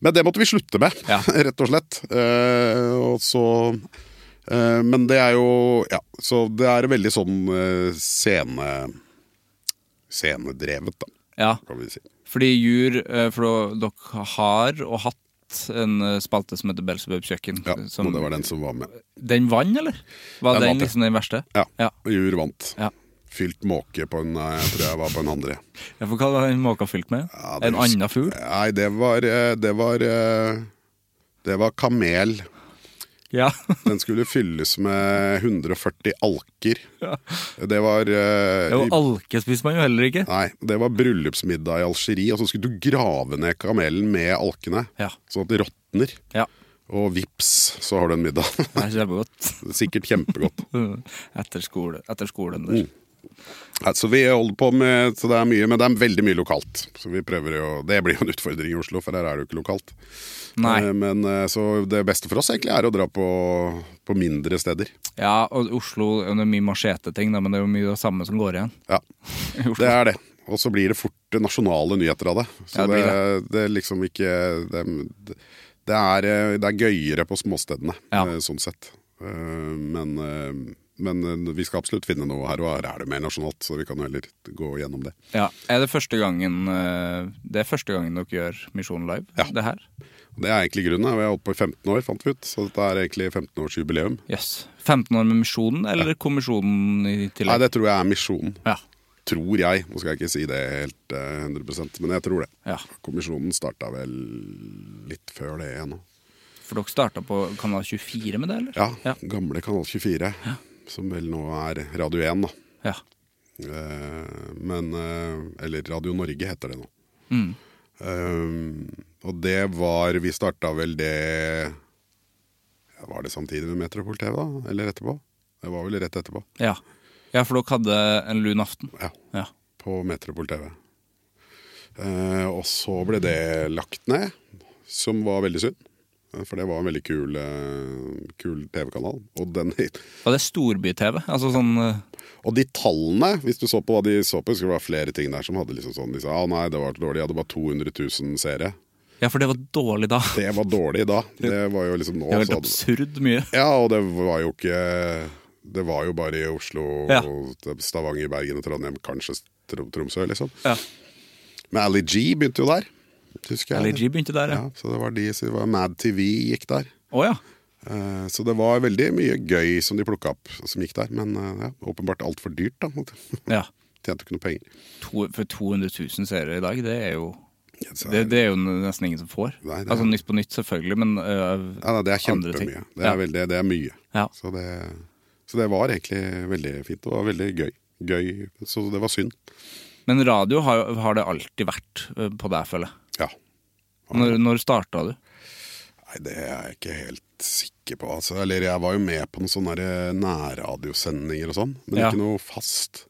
Men det måtte vi slutte med,
Ja.
rett og slett. Eh, og så eh, Men det er jo Ja, så det er veldig sånn eh, scene Scenedrevet, da,
Ja,
kan vi si.
fordi jur eh, For da- dere har og hatt en eh, spalte som heter Belsebub kjøkken.
Ja,
som,
og det var den som var med.
den vant, eller? Var
Den
den
vant, ja.
liksom den verste?
Ja.
Ja.
Jur vant.
Ja.
Fylt måke på en Nei, jeg tror jeg var på en andre.
Ja, for hva var den måka fylt med?
Ja, det
en
husker-
annen fugl?
Nei, det var eh, Det var, eh, det var kamel.
Ja.
Den skulle fylles med 140 alker.
Ja.
Det var eh,
Jo,
i-
alke spiser man jo heller ikke.
Nei, det var bryllupsmiddag i Algerie, og så skulle du grave ned kamelen med alkene.
Ja.
Sånn at det råtner.
Ja.
Og vips, så har du en middag.
Det er kjempegodt.
Sikkert kjempegodt.
Etter, skole, etter skolen der.
Mm. Nei, Så vi holder på med så det er mye, men det er veldig mye lokalt. Så vi prøver jo, Det blir jo en utfordring i Oslo, for her er det jo ikke lokalt.
Nei.
Eh, Men eh, Så det beste for oss egentlig er å dra på, på mindre steder.
Ja, og Oslo det er mye machete-ting, da, men det er jo mye av det samme som går igjen.
Ja,
i Oslo.
det er det. Og så blir det fort nasjonale nyheter av det. Så
Ja, det
det,
blir
det. er liksom ikke det, det, er, eh, det er gøyere på småstedene,
Ja.
eh, sånn sett. Eh, Men, eh, men eh, vi skal absolutt finne noe her, og her er det mer nasjonalt, så vi kan jo heller gå gjennom det.
Ja, Er det første gangen eh, Det er første gangen dere gjør Misjon Live?
Ja.
Det her?
Det er egentlig grunnen. Vi har holdt på i 15 år, fant vi ut. Så dette er egentlig 15-årsjubileum.
Jøss. 15 år med Misjonen, eller Kommisjonen i
Nei,
tillegg?
det tror jeg er misjonen.
Ja.
Tror jeg. Nå skal jeg ikke si det helt eh, 100 men jeg tror det.
ja.
Kommisjonen starta vel litt før det ennå.
For dere starta på kanal 24 med det, eller?
Ja,
Ja.
gamle Kanal 24, som vel nå er Radio 1, da.
Ja.
Eh, Men eh, Eller Radio Norge heter det nå.
Mm.
Eh, Og det var Vi starta vel det ja, Var det samtidig med Metropol TV, da? Eller etterpå? Det var vel rett etterpå.
ja. Ja, for dere hadde en lun aften?
Ja.
Ja.
på Metropol TV. Eh, og så ble det lagt ned, som var veldig synd. eh, For det var en veldig kul, eh, kul TV-kanal. Og, den,
Var det storby-TV? Altså sånn eh,
og de tallene, hvis du så på hva de så på, skulle det være flere ting der som hadde liksom sånn De sa ah, nei, det var dårlig, jeg hadde bare 200 000 seere.
Ja, for det var dårlig da.
Det var dårlig da. Det var jo liksom nå.
Det var
så
helt
hadde-
absurd mye.
Ja, og det var jo ikke Det var jo bare i Oslo,
Ja.
Stavanger, Bergen og Trondheim, kanskje Trom- Tromsø, liksom.
Ja.
Men Ali G begynte jo der. Husker jeg.
LG begynte der, ja.
Ja, så det var de, så det var Mad TV gikk der.
Å ja.
Eh, Så det var veldig mye gøy som de plukka opp som gikk der. Men eh, ja, åpenbart altfor dyrt, da.
ja.
Tjente ikke noe penger.
To, for 200 000 seere i dag, det er jo
Så,
det, det er jo nesten ingen som får.
Nei, det er-
altså Nytt på nytt, selvfølgelig, men øh,
ja, nei, det er
andre ting.
kjempemye. Det,
Ja.
er veldig- det er mye.
Ja.
Så, det, så det var egentlig veldig fint. Det var veldig gøy. Gøy, Så det var synd.
Men radio har, har det alltid vært øh, på deg, føler jeg.
Ja.
Når, når starta du?
Nei, det er jeg ikke helt sikker på. Altså. Eller jeg var jo med på noen sånne der eh, nærradiosendinger og sånn, men
Ja.
ikke noe fast.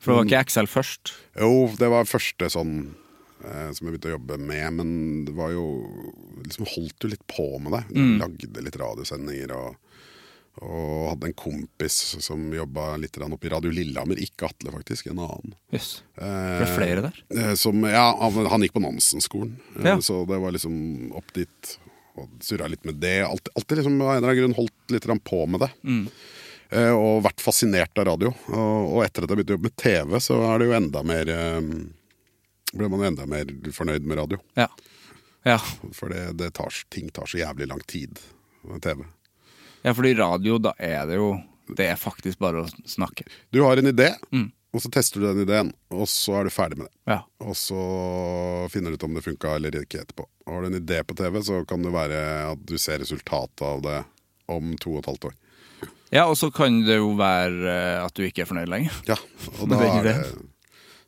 For det var ikke XL først.
Jo, det var første sånn eh, som jeg begynte å jobbe med, men det var jo Liksom holdt jo litt på med det.
Mm.
Lagde litt radiosendinger og og hadde en kompis som jobba litt grann oppe i Radio Lillehammer, ikke Atle faktisk, en annen.
Jøss.
Eh,
Det er flere der.
Eh, Som, ja, han- han gikk på Nansen-skolen, eh,
Ja.
så det var liksom opp dit og surra litt med det. Alt- Alltid liksom, av en eller annen grunn holdt litt grann på med det. Eh, Og vært fascinert av radio. Og, og etter at jeg begynte å jobbe med TV, så er det jo enda mer eh, ble man jo enda mer fornøyd med radio.
Ja. Ja.
For det, det tar, ting tar så jævlig lang tid med TV.
ja, fordi radio, da er det jo Det er faktisk bare å snakke.
Du har en idé, og så tester du den ideen, og så er du ferdig med det.
Ja.
Og så finner du ut om det funka eller ikke etterpå. Har du en idé på TV, så kan det være at du ser resultatet av det om to og et halvt år.
ja, og så kan det jo være øh, at du ikke er fornøyd lenger.
Ja, og
Med
da
den
er det,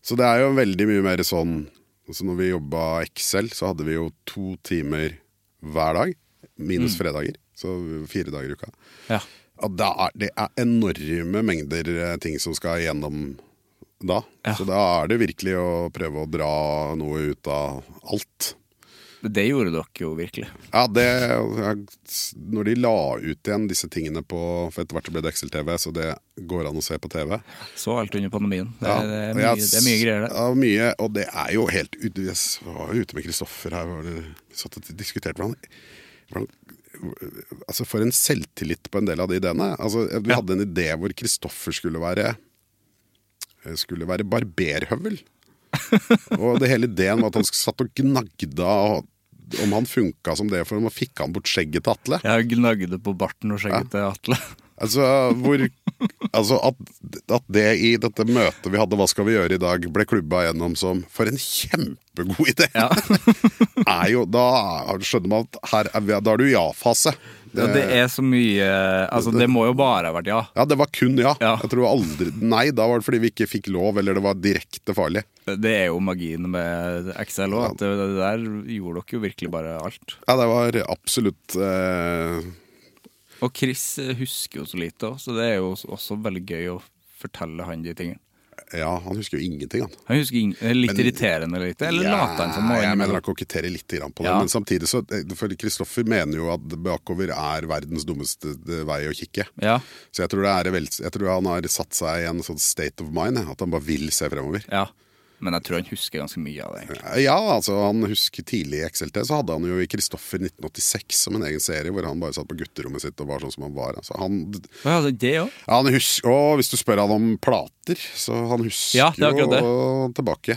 så det er jo veldig mye mer sånn altså Når vi jobba Excel, så hadde vi jo to timer hver dag, minus fredager. Så fire dager i uka.
Ja.
Ja, da er, det er enorme mengder eh, ting som skal gjennom da.
Ja.
Så da er det virkelig å prøve å dra noe ut av alt.
Det gjorde dere jo virkelig.
Ja, det jeg- Når de la ut igjen disse tingene på For etter hvert så ble det Excel-TV, så det går an å se på TV.
Så alt under pandemien. Det,
Ja,
det, er,
og
mye,
jeg-
det er mye greier der.
Ja, mye, og det er jo helt ut, Jeg s- var jo ute med Kristoffer her, var det, vi satt og diskuterte hvordan, hvordan Altså, for en selvtillit på en del av de ideene. Altså, vi
Ja.
hadde en idé hvor Kristoffer skulle være eh, skulle være barberhøvel. Og det hele ideen var at han satt og gnagde av om han funka som det, for om han fikk han bort skjegget til Atle.
Jeg gnagde på barten og skjegget til Atle.
Altså, hvor, altså at, at det i dette møtet vi hadde, hva skal vi gjøre i dag, ble klubba gjennom som for en kjempegod idé!
Ja.
er jo, da skjønner man at her er, vi- da er du i ja-fase.
Ja, det er så mye Altså, det må jo bare ha vært ja.
Ja, det var kun ja.
Ja.
Jeg tror aldri Nei, da var det fordi vi ikke fikk lov, eller det var direkte farlig.
Det er jo magien med Excel òg, at det, det der gjorde dere jo virkelig bare alt.
Ja, det var absolutt eh,
Og Chris eh, husker jo så lite òg, så det er jo også veldig gøy å fortelle han de tingene.
Ja, han husker jo ingenting, han.
Han husker ing- eh, litt
Men-
irriterende lite, eller later han som noe
Ja, Jeg mener
innimellom.
han koketterer litt grann på det,
Ja.
men samtidig så eh, For Kristoffer mener jo at bakover er verdens dummeste eh, vei å kikke.
Ja,
Så jeg tror, det er vel, jeg tror han har satt seg i en sånn state of mind, jeg, at han bare vil se fremover.
ja. Men jeg tror han husker ganske mye av det. egentlig.
Ja, altså han husker tidlig i XLT så hadde han jo i Kristoffer 1986 som en egen serie hvor han bare satt på gutterommet sitt og var sånn som han var. Altså, han,
Å, ja, det òg?
ja, han husker, og hvis du spør han om plater, så han husker
Ja, det er akkurat det.
jo tilbake.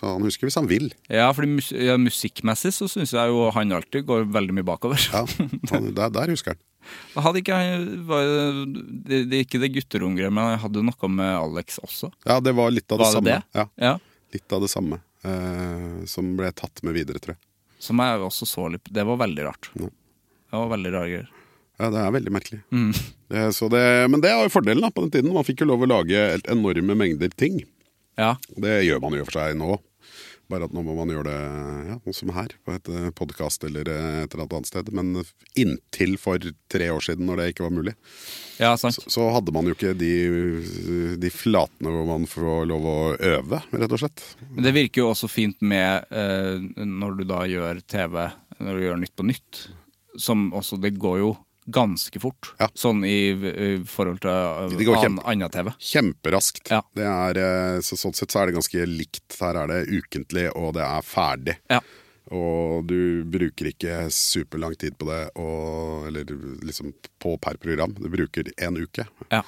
Så han husker hvis han vil.
Ja, fordi mus ja, musikkmessig så syns jeg jo han alltid går veldig mye bakover.
Ja, han, der, der husker han.
Hadde ikke han var, det, det, er Ikke det gutteromgreiet, men han hadde noe med Alex også.
Ja, det var litt av det,
Var det
samme.
det?
Ja,
Ja.
litt av det samme eh, som ble tatt med videre, tror jeg.
Som jeg også så litt Det var veldig rart.
Ja.
Det var veldig rare greier.
Ja, det er veldig merkelig.
Mm.
Det, så det, men det var jo fordelen da, på den tiden. Man fikk jo lov å lage helt enorme mengder ting.
Ja.
Det gjør man jo for seg nå. Bare at nå må man gjøre det ja, noe som her, på et podkast eller eh, et eller annet annet sted. Men inntil for tre år siden, når det ikke var mulig,
ja, sant.
så, så hadde man jo ikke de, de flatene hvor man får lov å øve, rett og slett.
Men det virker jo også fint med eh, når du da gjør TV, når du gjør Nytt på Nytt, som også Det går jo ganske fort,
Ja.
sånn i, i forhold til
Det går
eh, an-
kjempe-
anna TV.
Kjemperaskt.
Ja.
Det er, eh, så, sånn sett så er det ganske likt. Her er det ukentlig, og det er ferdig.
Ja.
Og du bruker ikke superlang tid på det, og, eller liksom på per program. Du bruker én uke,
ja.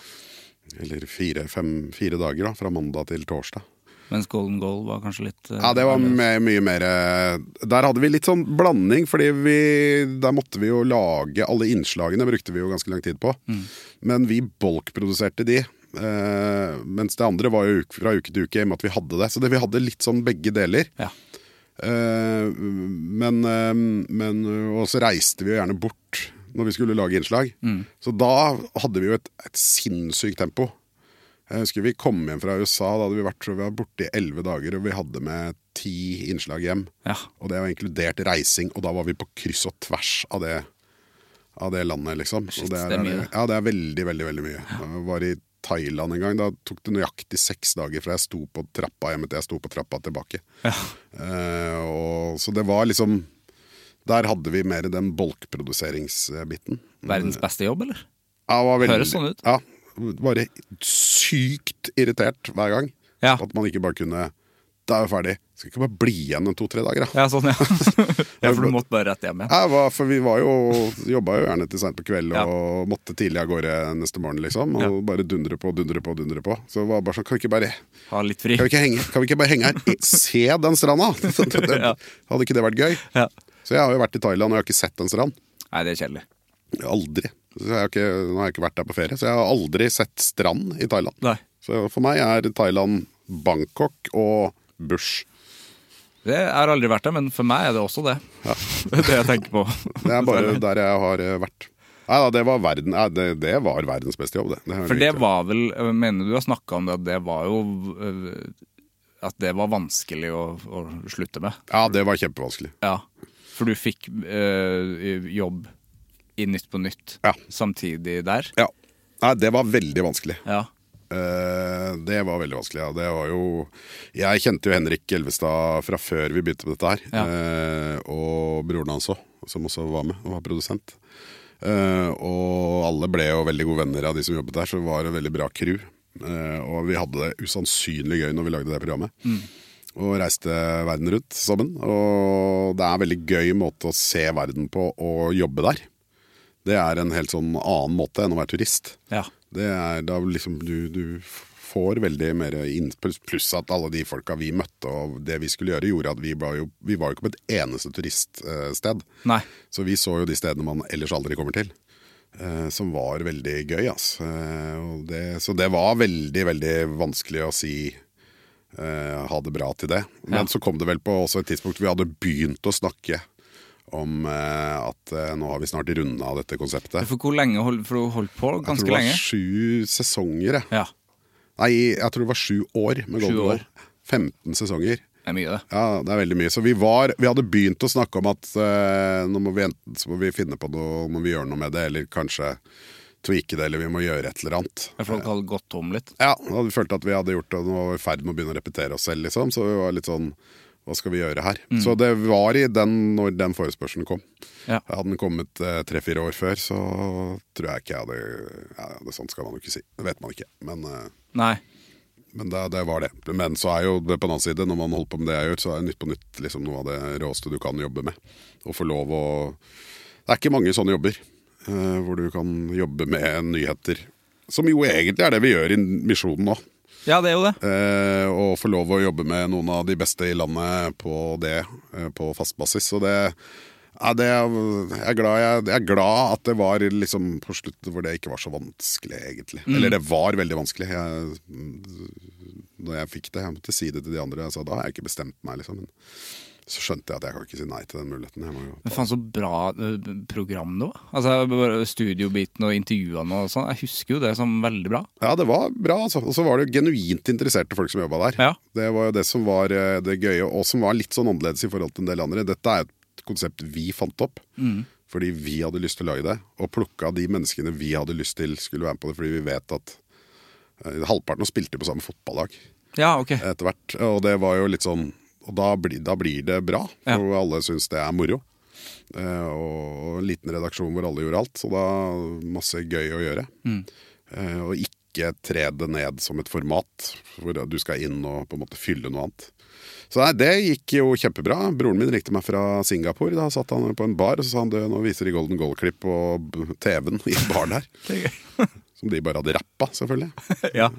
eller fire, fem, fire dager, da, fra mandag til torsdag.
Mens Golden Goal var kanskje litt eh,
Ja, det altså. var
annerledes.
me- mye mer eh, Der hadde vi litt sånn blanding, fordi vi Der måtte vi jo lage Alle innslagene brukte vi jo ganske lang tid på. Men vi bolkproduserte de. eh, mens det andre var jo uke- fra uke til uke, i og med at vi hadde det. Så det, vi hadde litt sånn begge deler.
Ja.
Eh, men, eh, men Og så reiste vi jo gjerne bort når vi skulle lage innslag. Så da hadde vi jo et, et sinnssykt tempo. Jeg husker vi kom hjem fra USA, da hadde vi vært tror jeg, vi var borte i elleve dager, og vi hadde med ti innslag hjem.
Ja.
Og det var inkludert reising, og da var vi på kryss og tvers av det, av det landet, liksom.
Shit,
og
det er mye, det.
Ja, det er veldig, veldig, veldig mye. Jeg var i Thailand en gang, da tok det nøyaktig seks dager fra jeg sto på trappa hjemme til jeg sto på trappa tilbake.
Ja.
Eh, og, så det var liksom Der hadde vi mer den bolkproduseringsbiten. Mm.
Verdens beste jobb, eller?
Ja, det var veldig,
Høres sånn ut.
Ja, bare sykt irritert hver gang.
Ja.
At man ikke bare kunne Da er vi ferdig. Skal ikke bare bli igjen en to-tre dager, da.
Ja, sånn, ja. ja, for du måtte bare rett hjem igjen.
Ja, det var, for vi var jo jobba jo gjerne til seint på kvelden
Ja.
og måtte tidlig av gårde neste morgen, liksom. Og bare dundre på, dundre på, dundre på. Så det var bare sånn Kan vi ikke bare
Ha litt fri.
kan vi ikke, henge, kan vi ikke bare henge her? Se den stranda!
Ja.
Hadde ikke det vært gøy?
Ja.
Så jeg har jo vært i Thailand, og jeg har ikke sett en strand.
Nei, det er kjedelig.
Aldri. Så jeg har ikke, nå har jeg ikke vært der på ferie, så jeg har aldri sett strand i Thailand.
Nei.
Så for meg er Thailand Bangkok og Bush.
Det, jeg har aldri vært der, men for meg er det også det. Det er det jeg tenker på.
Det er bare der jeg har eh, vært. Nei da, det var, verden, nei, det, det var verdens beste jobb, det. det er
For det
virkelig.
var vel jeg Mener du har snakka om det, at det var jo øh, At det var vanskelig å, å slutte med?
Ja, det var kjempevanskelig.
Ja. For du fikk øh, jobb i Nytt på Nytt
Ja.
samtidig der?
Ja. Nei, det var veldig vanskelig.
Ja.
Eh, det var veldig vanskelig. Ja. Det var jo Jeg kjente jo Henrik Elvestad fra før vi begynte med dette her.
Ja.
Eh, og broren hans òg, som også var med og var produsent. Eh, og alle ble jo veldig gode venner av de som jobbet der, så det var en veldig bra crew. Eh, og vi hadde det usannsynlig gøy når vi lagde det programmet. Og reiste verden rundt sammen. Og det er en veldig gøy måte å se verden på og jobbe der. Det er en helt sånn annen måte enn å være turist.
ja.
Det er da liksom du, du får veldig mer innspill, pluss at alle de folka vi møtte og det vi skulle gjøre, gjorde at vi var jo, vi var jo ikke på et eneste turiststed.
Nei.
Så vi så jo de stedene man ellers aldri kommer til. eh, Som var veldig gøy, ass. Eh, og Det, så det var veldig, veldig vanskelig å si eh, ha det bra til det. Men
Ja.
så kom det vel på også et tidspunkt vi hadde begynt å snakke om eh, at eh, nå har vi snart runda dette konseptet.
For hvor lenge hold, For du holdt på
Jeg tror
ganske
det var
lenge?
sju sesonger, jeg.
Ja.
Nei, jeg tror det var sju år med
Sju
Golden
år.
Goal. 15 sesonger.
Det er mye, det.
Ja, det er veldig mye. Så vi var Vi hadde begynt å snakke om at eh, nå må vi enten så må vi finne på noe, må vi gjøre noe med det, eller kanskje tweake det, eller vi må gjøre et eller annet.
Jeg folk hadde gått tom litt.
Ja, da hadde vi følt at vi hadde gjort det, og nå var vi i ferd med å begynne å repetere oss selv, liksom. Så vi var litt sånn Hva skal vi gjøre her?
Mm.
Så det var i den når den forespørselen kom.
Ja.
Hadde den kommet tre-fire år før, så tror jeg ikke jeg hadde ja, det, Sånt skal man jo ikke si. Det vet man ikke. Men eh,
Nei.
Men det, det var det. Men så er jo det på den annen side, når man holder på med det jeg gjør, så er Nytt på Nytt liksom noe av det råeste du kan jobbe med. Å få lov å Det er ikke mange sånne jobber eh, hvor du kan jobbe med nyheter. Som jo egentlig er det vi gjør i Misjonen nå.
Ja, det er jo det.
Eh, og få lov å jobbe med noen av de beste i landet på det eh, på fast basis. Så det, ja, det er, jeg, er glad, jeg, jeg er glad at det var liksom på slutt hvor det ikke var så vanskelig, egentlig. Eller det var veldig vanskelig. Jeg, mm, når jeg fikk det, jeg måtte si det til de andre. Jeg sa da har jeg ikke bestemt meg, liksom. Men så skjønte jeg at jeg kan ikke si nei til den muligheten. Jeg må jo
Men faen så bra eh, program det var. Altså, bare Studiobiten og intervjuene og sånn. Jeg husker jo det som veldig bra.
Ja, det var bra, altså. Og så var det jo genuint interesserte folk som jobba der.
Ja.
Det var jo det som var eh, det gøye, og som var litt sånn annerledes i forhold til en del andre. Dette er et konsept vi fant opp, fordi vi hadde lyst til å lage det. Og plukka de menneskene vi hadde lyst til skulle være med på det, fordi vi vet at eh, halvparten spilte på samme fotballag
Ja, ok.
etter hvert. Og det var jo litt sånn Og da, blir- da blir det bra, for
Ja.
alle syns det er moro. Eh, og en liten redaksjon hvor alle gjorde alt, så da masse gøy å gjøre. Eh, og ikke tre det ned som et format hvor du skal inn og på en måte fylle noe annet. Så nei, det gikk jo kjempebra. Broren min ringte meg fra Singapore. Da satt han på en bar og så sa han, «Du, nå viser de Golden Goal-klipp på b- TV-en i baren her. Som de bare hadde rappa, selvfølgelig.
Ja.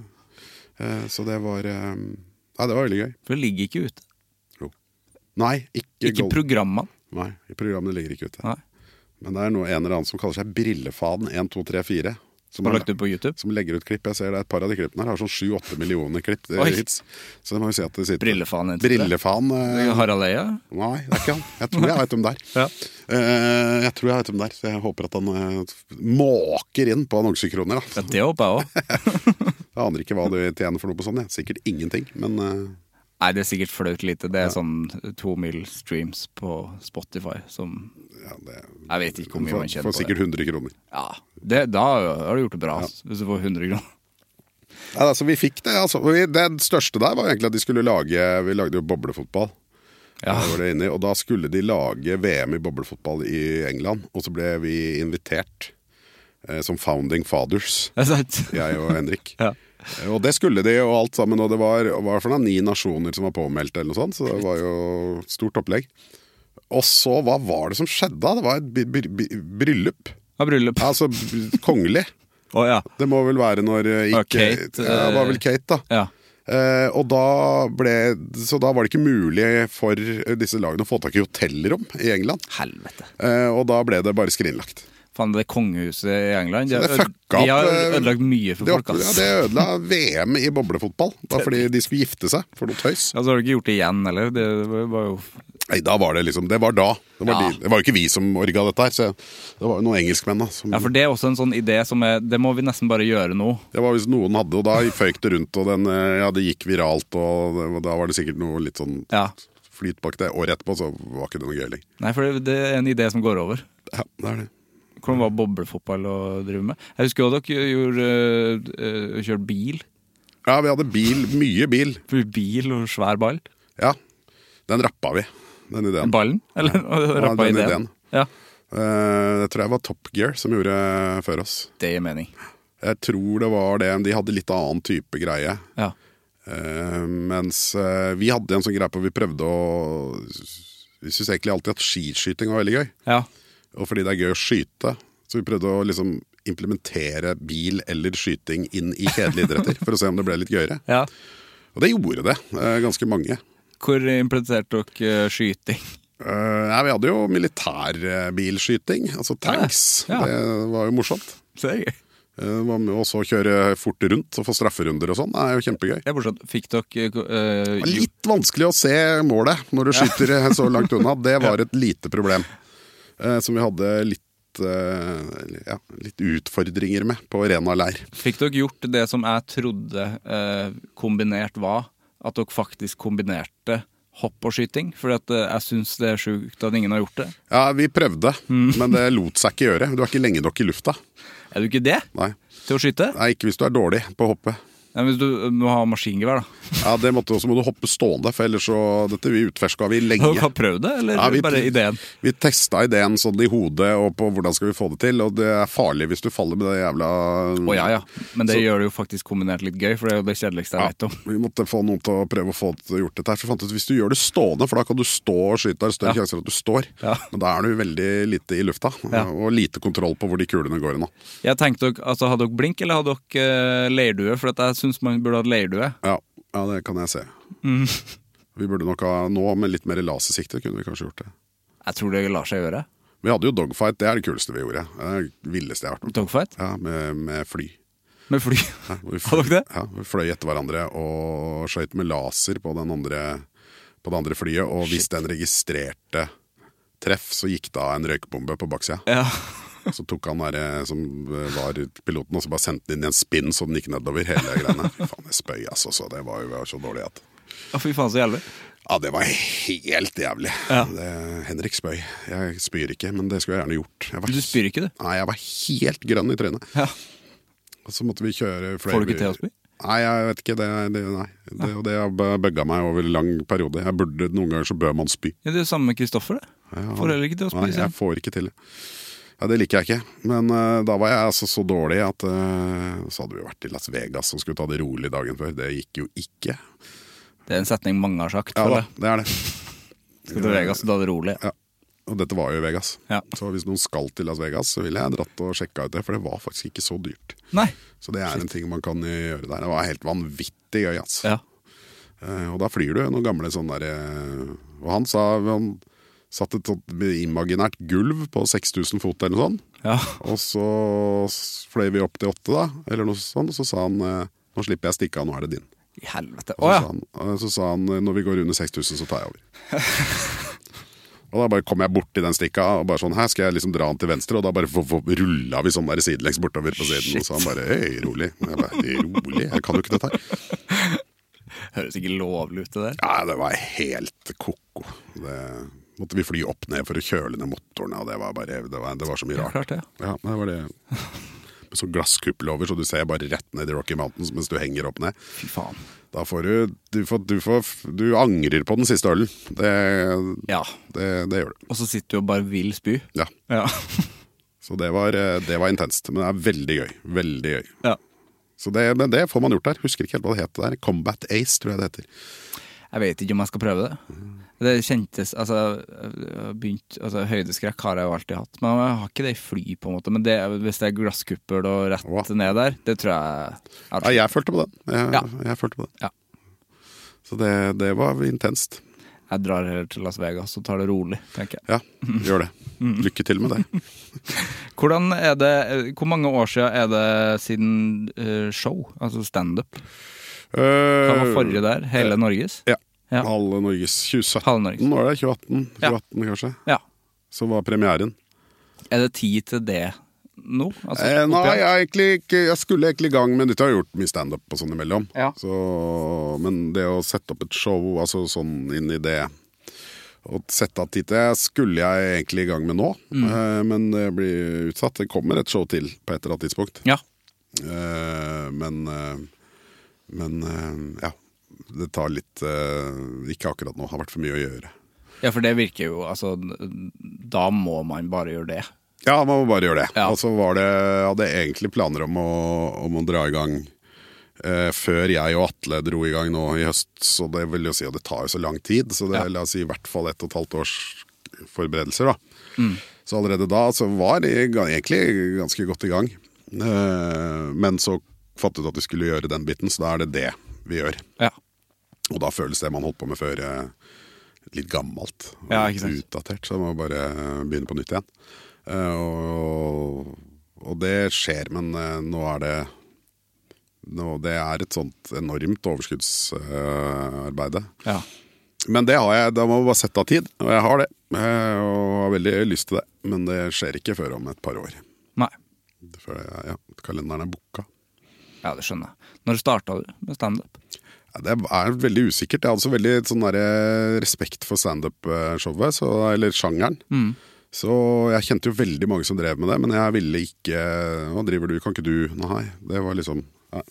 Eh, Så det var eh, Nei, det var veldig gøy.
For det ligger ikke ute.
Nei, ikke,
Ikke
Gold-
programmene.
Nei, i programmet ligger ikke ute.
Nei.
Men det er noe, en eller annen som kaller seg Brillefaden 1234. Som,
Som
er,
lagt ut på YouTube.
som legger ut klipp. Jeg ser det er Et par av de klippene her har sånn 7-8 millioner klipp. eh,
Oi.
hits. Så det må jo si at det sitter
Brillefaen heter det.
Brillefaden eh,
Harald Eia?
Nei, det er ikke han. Jeg tror jeg vet hvem det er.
Ja.
Eh, jeg tror jeg vet hvem det er. Så jeg håper at han eh, måker inn på annonsekroner. Da.
Ja, det håper jeg òg.
Jeg aner ikke hva du tjener for noe på sånn. jeg. Sikkert ingenting. Men eh,
Nei, det er sikkert flaut lite. Det er sånn to mil streams på Spotify som
ja, det
Jeg vet ikke hvor mye man
får,
kjenner
får
på det.
sikkert 100 kroner.
Ja, det, Da har du gjort det bra, ass, hvis du får 100 kroner.
Ja, altså, vi fikk det. Altså. Vi, det største der var egentlig at de skulle lage Vi lagde jo boblefotball.
Ja.
Det var det inne i, og da skulle de lage VM i boblefotball i England, og så ble vi invitert eh, som founding fathers,
Det er sant.
jeg og Henrik.
Ja.
Eh, Og det skulle de og alt sammen, og det var, og var for noen ni nasjoner som var påmeldt, eller noe sånt, så det var jo et stort opplegg. Og så, hva var det som skjedde da? Det var et bry- bry- bry- bryllup.
Av bryllup. Å
Altså kongelig.
ja.
Det må vel være når eh, ikke
Og Kate,
ja, Det var vel Kate, da.
ja.
Eh, og da ble, så da var det ikke mulig for disse lagene å få tak i hotellrom i England.
Helvete.
Eh, og da ble det bare skrinlagt.
Faen, det kongehuset i England De
Så
har,
det
øde,
fucka
de har
opp, eh,
ødelagt mye for
Det,
folk,
ja,
ass.
det ødela VM i boblefotball, da, fordi de skulle gifte seg for noe tøys.
Ja, så har du ikke gjort det igjen, eller? Det var jo
Nei, da var det liksom Det var da. Det var,
Ja.
de, det var jo ikke vi som orga dette her, så det var jo noen engelskmenn da. Som,
Ja, for det er også en sånn idé som er Det må vi nesten bare gjøre nå.
Det var hvis noen hadde, og da føyk det rundt, og den, eh, ja, det gikk viralt, og det, da var det sikkert noe litt sånn
Ja.
flyt bak det. Året etterpå så var ikke det noe gøy lenger.
Nei, for det, det er en idé som går over.
Ja, det er det.
Hvordan var boblefotball å drive med? Jeg husker jo dere gjorde øh, øh, kjørte bil.
Ja, vi hadde bil, mye bil.
Bil og svær ball.
Ja, den rappa vi, den ideen.
Ballen? Eller rappa
den
ideen.
ideen.
Ja,
Eh, det tror jeg var Top Gear som gjorde før oss.
det gir mening.
Jeg tror det var det, men de hadde litt annen type greie.
Ja.
Eh, mens eh, vi hadde en sånn greie på vi prøvde å Vi syntes egentlig alltid at skiskyting var veldig gøy.
ja.
Og fordi det er gøy å skyte, så vi prøvde å liksom implementere bil eller skyting inn i kjedelige idretter. for å se om det ble litt gøyere.
ja.
Og det gjorde det. eh, ganske mange.
Hvor implementerte dere øh, skyting?
Eh, nei, vi hadde jo militærbilskyting, altså tanks.
Ja, ja.
Det var jo morsomt.
Så det er gøy.
Eh, Hva med også å kjøre fort rundt og få strafferunder og sånn? Det er jo kjempegøy.
Det er morsomt. Fikk dere øh,
Det
jo-
var Litt vanskelig å se målet når du skyter eh, så langt unna. Det var et lite problem eh, som vi hadde litt eh, ja, litt utfordringer med på Rena leir.
Fikk dere gjort det som jeg trodde eh, kombinert var? At dere faktisk kombinerte hopp og skyting? For at, eh, jeg syns det er sjukt at ingen har gjort det.
Ja, vi prøvde,
Mm.
men det lot seg ikke gjøre. Du er ikke lenge nok i lufta.
Er du ikke det
Nei,
til å skyte?
Nei ikke hvis du er dårlig på å hoppe.
Nei, men du må ha maskingevær, da.
Ja, det måtte, også må du hoppe stående, for ellers så Dette vi utforska vi
Har du
lenge.
ikke prøvd det, eller
Ja, vi-
bare ideen?
Vi testa ideen sånn i hodet og på hvordan skal vi få det til, og det er farlig hvis du faller med det jævla
Å ja, ja. Men det gjør det jo faktisk kombinert litt gøy, for det er jo det kjedeligste jeg vet om.
Vi måtte få noen til å prøve å få det- gjort dette her. For jeg fant ut, hvis du gjør det stående, for da kan du stå og skyte, det er større sjanser for at du står.
Ja.
Men da er du veldig lite i lufta,
Ja.
og lite kontroll på hvor de kulene går nå.
Jeg tenkte dere, altså Hadde dere blink, eller hadde dere eh, leirdue? For at jeg syns man burde hatt leirdue.
Ja, ja det kan jeg se.
Mm.
Vi burde nok ha nå med litt mer lasersikte, kunne vi kanskje gjort det.
Jeg tror det lar seg gjøre.
Vi hadde jo dogfight, det er det kuleste vi gjorde. Det er det villeste jeg har vært med på.
Dogfight
Ja, med, med fly.
med fly.
Ja, hvor vi
Hadde dere det?
Ja, vi fløy etter hverandre og skøyt med laser på, den andre, på det andre flyet. Og hvis den registrerte treff, så gikk det av en røykbombe på baksida.
Ja.
Så tok han derre som eh, var piloten, og så bare sendte den inn i en spinn så den gikk nedover hele greiene. Fy faen, jeg spøy, altså. Så det var jo det var så dårlig at
Å, Fy faen, så jævlig.
Ja, det var helt jævlig.
Ja.
Det, Henrik spøy. Jeg spyr ikke, men det skulle jeg gjerne gjort. Jeg var,
Du spyr ikke, du.
Nei, jeg var helt grønn i trynet.
Ja.
Og så måtte vi kjøre flere
Får du ikke til å spy?
Nei, jeg vet ikke. Det, det, nei. Det, og det har bø- bøgga meg over lang periode. Jeg burde, Noen ganger så bør man spy.
Ja, det er jo samme med Kristoffer, det.
Ja,
Får heller ikke til å
Nei,
spise.
jeg får ikke til det. Ja, det liker jeg ikke. Men eh, da var jeg altså så dårlig at eh, Så hadde vi vært i Las Vegas og skulle ta det rolig dagen før. Det gikk jo ikke.
Det er en setning mange har sagt.
Ja
føler
da,
jeg.
det er det.
Skal til Vegas, da er det rolig.
Ja. Og dette var jo i Vegas.
Ja.
Så hvis noen skal til Las Vegas, så ville jeg dratt og sjekka ut det, for det var faktisk ikke så dyrt.
Nei.
Så det er en ting man kan gjøre der. Det var helt vanvittig gøy, altså.
Ja.
Eh, Og da flyr du noen gamle sånne der eh, Og han sa Han satte et sånt imaginært gulv på 6000 fot eller noe sånt.
ja.
Og så s- fløy vi opp til åtte, da, eller noe sånt. Og så sa han eh, Nå slipper jeg å stikke av, nå er det din.
I helvete.
Og
Å ja.
så, sa han, eh, så sa han eh, når vi går under 6000, så tar jeg over. og da bare kom jeg borti den stikka og bare sånn Her skal jeg liksom dra han til venstre, og da bare rulla vi sånn der sidelengs bortover på siden. Og så han bare Hei, rolig. Og jeg bare, rolig, jeg kan jo ikke dette her.
Høres ikke lovlig ut, det der.
Nei, det var helt koko. Det måtte vi fly opp ned for å kjøle ned motorene, og det var bare Det var, det var så mye
Ja,
rart.
klart det.
Ja, det var det. Med sånn glasskuppel over, så du ser bare rett ned i Rocky Mountains mens du henger opp ned.
Fy faen.
Da får du Du, får, du, får, du angrer på den siste ølen. Det,
Ja.
det, det gjør du.
Og så sitter du og bare vil spy.
Ja.
Ja.
Så det var, eh, det var intenst. Men det er veldig gøy. Veldig gøy.
ja.
Så det, men det får man gjort der. Husker ikke helt hva det het der. Combat Ace, tror jeg det heter.
Jeg vet ikke om jeg skal prøve det.
Mm.
Det kjentes Altså, jeg har begynt, altså høydeskrekk har jeg jo alltid hatt, men jeg har ikke det i fly, på en måte. Men det, hvis det er glasskuppel og rett
Wow.
ned der, det tror jeg
Ja, jeg følte på den. Jeg,
Ja.
jeg følte på den.
Ja.
Så det, det var intenst.
Jeg drar heller til Las Vegas og tar det rolig, tenker jeg.
Ja, gjør det.
Mm.
Lykke til med det.
Hvordan er det, Hvor mange år siden er det siden eh, show, altså standup?
Eh,
Hva var forrige der? Hele Norges?
Øh, Ja.
Ja.
Halve Norges 2017
Halve Norges.
var det? 2018,
Ja.
2018 kanskje?
Ja.
Så var premieren.
Er det tid til det nå? Altså,
Eh, nei,
opp
jeg,
igjen?
er egentlig ikke, jeg skulle egentlig i gang med dette. Jeg har gjort mye standup og sånn imellom.
Ja.
Så, men det å sette opp et show, altså sånn inn i det Å sette av tid til det, skulle jeg egentlig i gang med nå.
Mm.
Eh, men det blir utsatt. Det kommer et show til på et eller annet tidspunkt.
Ja.
Eh, men eh, men eh, ja. Det tar litt eh, Ikke akkurat nå. Har vært for mye å gjøre.
ja, for det virker jo Altså, da må man bare gjøre det.
Ja, man må bare gjøre det.
Ja.
Og så var det, jeg hadde egentlig planer om å, om å dra i gang eh, før jeg og Atle dro i gang nå i høst. Så det vil jo si at det tar jo så lang tid. Så det
Ja.
la oss si i hvert fall ett og et halvt års forberedelser, da.
Mm.
Så allerede da så var jeg ga- egentlig ganske godt i gang. Eh, men så fattet jeg at vi skulle gjøre den biten, så da er det det vi gjør.
Ja.
Og da føles det man holdt på med før eh, litt gammelt og
Ja,
litt
ikke sant.
utdatert, så man må bare begynne på nytt igjen. Eh, og, og det skjer, men eh, nå er det nå, Det er et sånt enormt overskuddsarbeide.
Ja.
men det har jeg, da må man bare sette av tid, og jeg har det. eh, og har veldig lyst til det, men det skjer ikke før om et par år.
Nei.
Før jeg, ja, kalenderen er booka.
Ja, det skjønner jeg. Når starta du med standup?
Ja, Det er veldig usikkert. Jeg hadde så veldig sånn der, eh, respekt for standup-showet, så- eller sjangeren. Så jeg kjente jo veldig mange eh, som drev med det, men jeg ville ikke Nå driver du, kan ikke du? Nei. Det var liksom ja.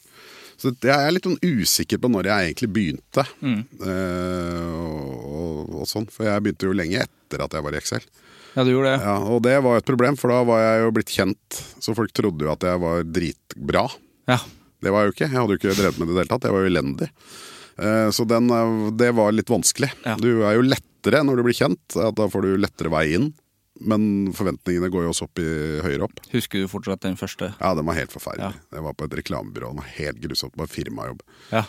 Så det- jeg er litt sånn usikker på når jeg egentlig begynte. eh, og, og, og sånn, for jeg begynte jo lenge etter at jeg var i Excel.
Ja, du gjorde det.
Ja, og det var jo et problem, for da var jeg jo blitt kjent. Så folk trodde jo at jeg var dritbra.
Ja.
Det var jeg jo ikke. Jeg hadde jo ikke drevet med det i det hele tatt. Jeg var jo elendig. Eh, Så den, eh, det var litt vanskelig.
Ja.
Du er jo lettere når du blir kjent. at Da får du lettere vei inn. Men forventningene går jo også opp i, høyere opp.
Husker du fortsatt den første?
Ja, den var helt forferdelig.
Ja.
Det var på et reklamebyrå. Den var helt grusomt. Det var firmajobb.
Ja.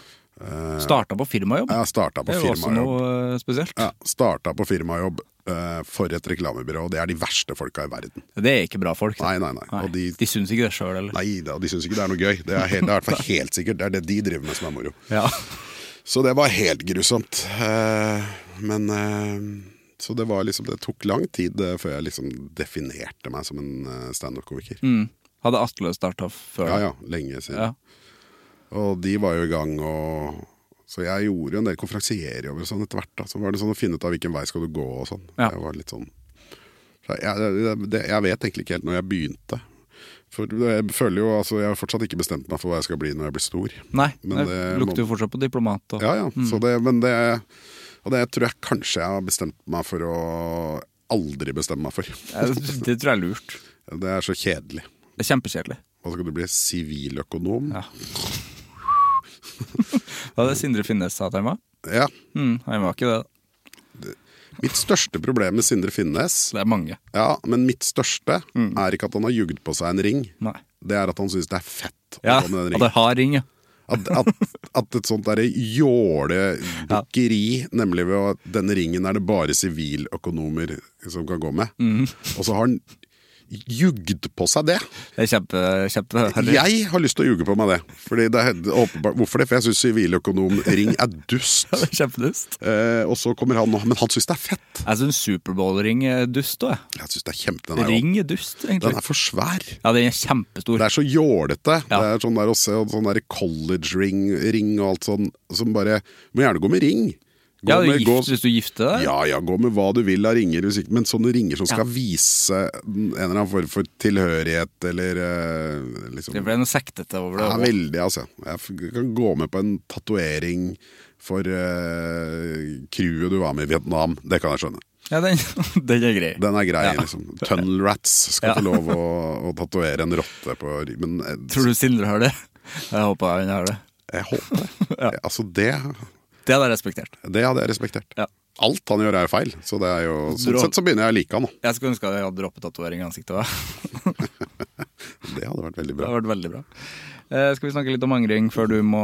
Starta på firmajobb.
Jeg starta på
det var også
Eh, firmajobb.
noe eh, spesielt.
Ja, starta på firmajobb eh, for et reklamebyrå. Og det er de verste folka i verden.
Det er ikke bra folk.
Nei, nei, nei. Og de
de syns ikke det sjøl, eller?
Nei da, de syns ikke det er noe gøy. Det er, helt, det er i hvert fall helt sikkert. Det er det de driver med som er moro.
Ja.
Så det var helt grusomt. Eh, Men eh, Så det var liksom Det tok lang tid eh, før jeg liksom definerte meg som en eh, standup-komiker.
Mm. Hadde Atle starta før?
Ja ja, lenge siden.
Ja.
Og de var jo i gang og Så jeg gjorde jo en del konferansierjobber og sånn etter hvert. Da. Så var det sånn å finne ut av hvilken vei skal du gå og sånn.
Ja.
Jeg var litt sånn Så jeg, jeg- det, jeg vet egentlig ikke helt når jeg begynte. For jeg føler jo altså Jeg har fortsatt ikke bestemt meg for hva jeg skal bli når jeg blir stor.
Nei,
Men
det
det må-
lukter jo fortsatt på diplomat. Og...
Ja, ja. Så det, men det, og det tror jeg kanskje jeg har bestemt meg for å aldri bestemme meg for.
Ja, Det tror jeg er lurt.
Det er så kjedelig.
Det er kjempekjedelig.
Hva skal du bli? Siviløkonom?
Ja. Det var det Sindre Finnes sa til meg.
Ja.
Mm, han var ikke det.
Mitt største problem med Sindre Finnes
Det er mange.
Ja, men mitt største er ikke at han har jugd på seg en ring.
Mm. Nei.
Det er at han syns det er fett å
Ja,
gå med
og
den
det
ringen.
har ring, ja.
At, at, at et sånt derre jåledukkeri, nemlig ved at denne ringen er det bare siviløkonomer som kan gå med,
Mm.
og så har han jugd på seg det.
Det er kjempe, kjempe
Jeg har lyst til å ljuge på meg det. Fordi det er åpenbart Hvorfor det? For jeg syns siviløkonomring er dust.
Det er Kjempedust.
Eh, og så kommer han og Men han syns det er fett!
Jeg syns Superbowl-ring er dust òg.
Jeg syns det er kjempe Den er, jo-
Ring er dust, egentlig.
den er for svær.
Ja, den er
Det
kjempestor.
er så jålete.
Ja.
Det er sånn der å se og sånn der college ring, ring og alt sånn som bare Må gjerne gå med ring. Gå
Ja,
med,
gift,
gå,
Hvis du gifter deg?
ja, ja, gå med hva du vil av ringer, hvis ikke- men sånne ringer som skal vise en eller annen form for tilhørighet, eller eh, liksom
Det ble noe sektete over det.
Ja,
også.
veldig, altså. Jeg f- kan gå med på en tatovering for eh, crewet du var med i Vietnam. Det kan jeg skjønne.
Ja, den, den er grei.
Den er grei,
Ja.
liksom. Tunnel rats skal
Ja.
få lov å, å tatovere en rotte på ry- Men eh,
Tror du Sindre har det? Jeg håper han har det.
jeg håper det. Altså, det,
Det hadde jeg respektert.
det hadde jeg respektert.
Ja.
Alt han gjør er jo feil, så det er jo, sånn
Drå-
sett så begynner jeg å like han. da.
Jeg skulle ønske at jeg hadde droppetatovering i ansiktet. da.
Det hadde vært veldig
Det
bra.
hadde vært veldig bra. Eh, skal vi snakke litt om angring før du må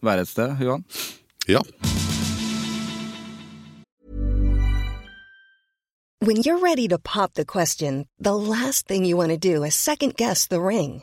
være et sted, Johan?
Ja.
When you're ready to pop the question, the last thing you want to do is second guess the ring.